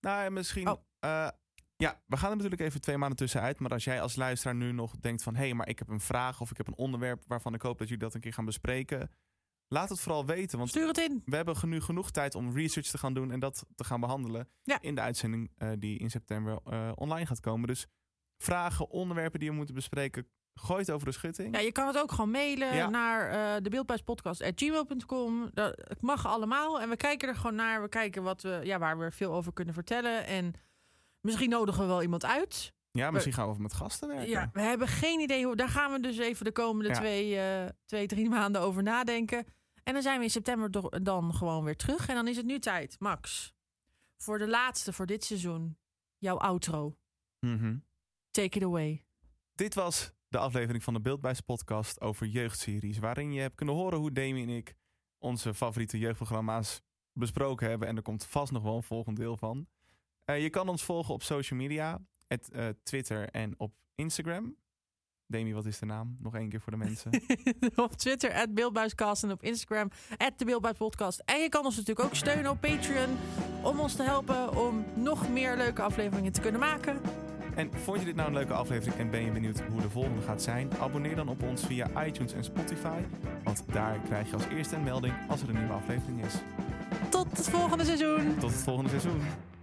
Nou, en misschien... Oh. eh, ja, we gaan er natuurlijk even twee maanden tussenuit. Maar als jij als luisteraar nu nog denkt van... hé, hey, maar ik heb een vraag of ik heb een onderwerp... waarvan ik hoop dat jullie dat een keer gaan bespreken... laat het vooral weten. Want Stuur het in. We hebben genu- genoeg tijd om research te gaan doen... en dat te gaan behandelen in de uitzending eh, die in september eh, online gaat komen. Dus vragen, onderwerpen die we moeten bespreken... gooi het over de schutting. Ja, je kan het ook gewoon mailen Ja. naar eh debeeldbuispodcast.gmail.com. Dat het mag allemaal. En we kijken er gewoon naar. We kijken wat we, ja, waar we veel over kunnen vertellen. En misschien nodigen we wel iemand uit. Ja, We- misschien gaan we met gasten werken. Ja, we hebben geen idee hoe. Daar gaan we dus even de komende Ja. twee, eh, twee, drie maanden over nadenken. En dan zijn we in september do- dan gewoon weer terug. En dan is het nu tijd, Max, voor de laatste voor dit seizoen. Jouw outro. Mhm. Take it away. Dit was de aflevering van de Beeldbuis podcast over jeugdseries, waarin je hebt kunnen horen hoe Demi en ik onze favoriete jeugdprogramma's besproken hebben. En er komt vast nog wel een volgend deel van. Eh, je kan ons volgen op social media. Het, eh, Twitter en op Instagram. Demi, wat is de naam? Nog één keer voor de mensen. op Twitter, at Beeldbuiscast. En op Instagram, at de Beeldbuispodcast. En je kan ons natuurlijk ook steunen op Patreon. Om ons te helpen om nog meer leuke afleveringen te kunnen maken. En vond je dit nou een leuke aflevering en ben je benieuwd hoe de volgende gaat zijn? Abonneer dan op ons via iTunes en Spotify. Want daar krijg je als eerste een melding als er een nieuwe aflevering is. Tot het volgende seizoen. Tot het volgende seizoen.